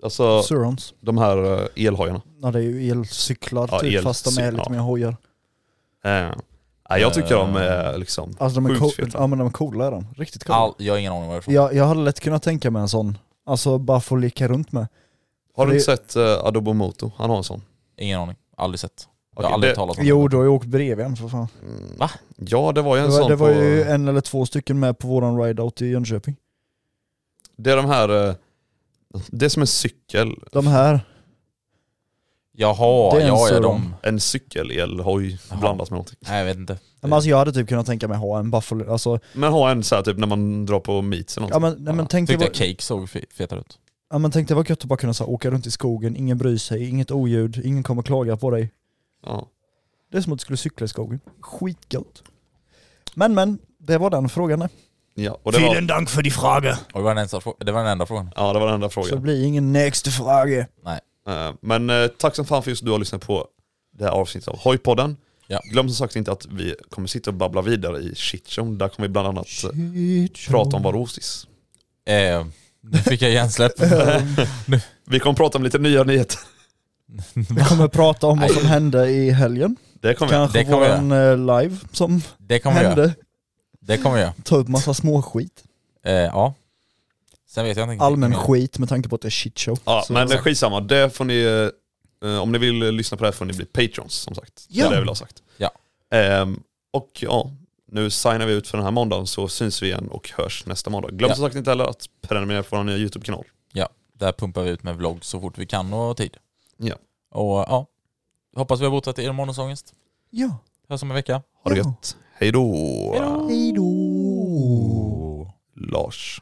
Alltså Surons. de här eh, elhojarna. Ja det är ju elcyklar Ja, typ, fast de är elcyk- lite ja. mer hojar. Eh, nej, jag tycker de Eh. är liksom... Alltså de är, Sjukt co- feta. ja, men de är coola är de. Riktigt coola. All... Jag har ingen aning om varifrån. Jag, jag hade lätt kunnat tänka mig en sån. Alltså bara få leka runt med. Har du det- inte sett eh, Adobo Moto? Han har en sån. Ingen aning. Aldrig sett. Jag har Okej, aldrig det- talat om Jo, det. du har ju åkt bredvid en för fan. Mm. Va? Ja det var ju Det en var, sån det var på... ju en eller två stycken med på våran ride-out i Jönköping. Det är de här... eh, Det är som en cykel. De här, Jaha, Det är en ja, ja, Suron. de... En cykel-elhoj Jaha. blandat med någonting. Nej, jag vet inte. men alltså jag hade typ kunnat tänka mig ha en buffalo, alltså, Men ha en så här typ när man drar på meets eller ja någonting. men, nej, men tänk dig Tyckte vad, jag Cake såg fe- fetare ut. ja, men tänk dig vad gött att bara kunna så här, åka runt i skogen, ingen bryr sig, inget oljud, ingen kommer klaga på dig. Ja. Det är som att du skulle cykla i skogen. Skitgött. Men men, det var den frågan där. Ja, och det var, Vielen Dank för die Frage. Och det var den enda, frå- det var den enda frågan. ja, det var den enda Så det frågan. blir ingen next fråga. Eh, Men eh, tack som fan för just att du har lyssnat på det här avsnittet av Hojpodden. Ja. Glöm som sagt inte att vi kommer sitta och babbla vidare i shitshow. Där kommer vi bland annat eh, prata om Varostis. Eh, nu fick jag hjärnsläpp. Vi kommer prata om lite nya nyheter. Vi kommer prata om vad som hände i helgen. Det kommer vi. Kanske Det kommer vi våran eh, live som det kommer vi göra. hände. Det kommer vi göra. Ta upp massa småskit. Eh, ja. Sen vet jag inte. Allmän skit med tanke på att det är shitshow. Mm. Ja, Så- men eh, skitsamma. Det får ni, eh, om ni vill eh, lyssna på det här får ni bli patrons som sagt. Det Ja. är det jag vill ha sagt. Ja. Ehm, och ja, nu signar vi ut för den här måndagen så syns vi igen och hörs nästa måndag. Glöm Ja. som sagt inte heller att prenumerera på vår nya YouTube-kanal. Ja, där pumpar vi ut med vlogg så fort vi kan och har tid. Ja. Och ja, hoppas vi har botat er morgonsångest. Ja. Hörs om en vecka. Ha det Ja. gött. Hej då. Hej då! Lars.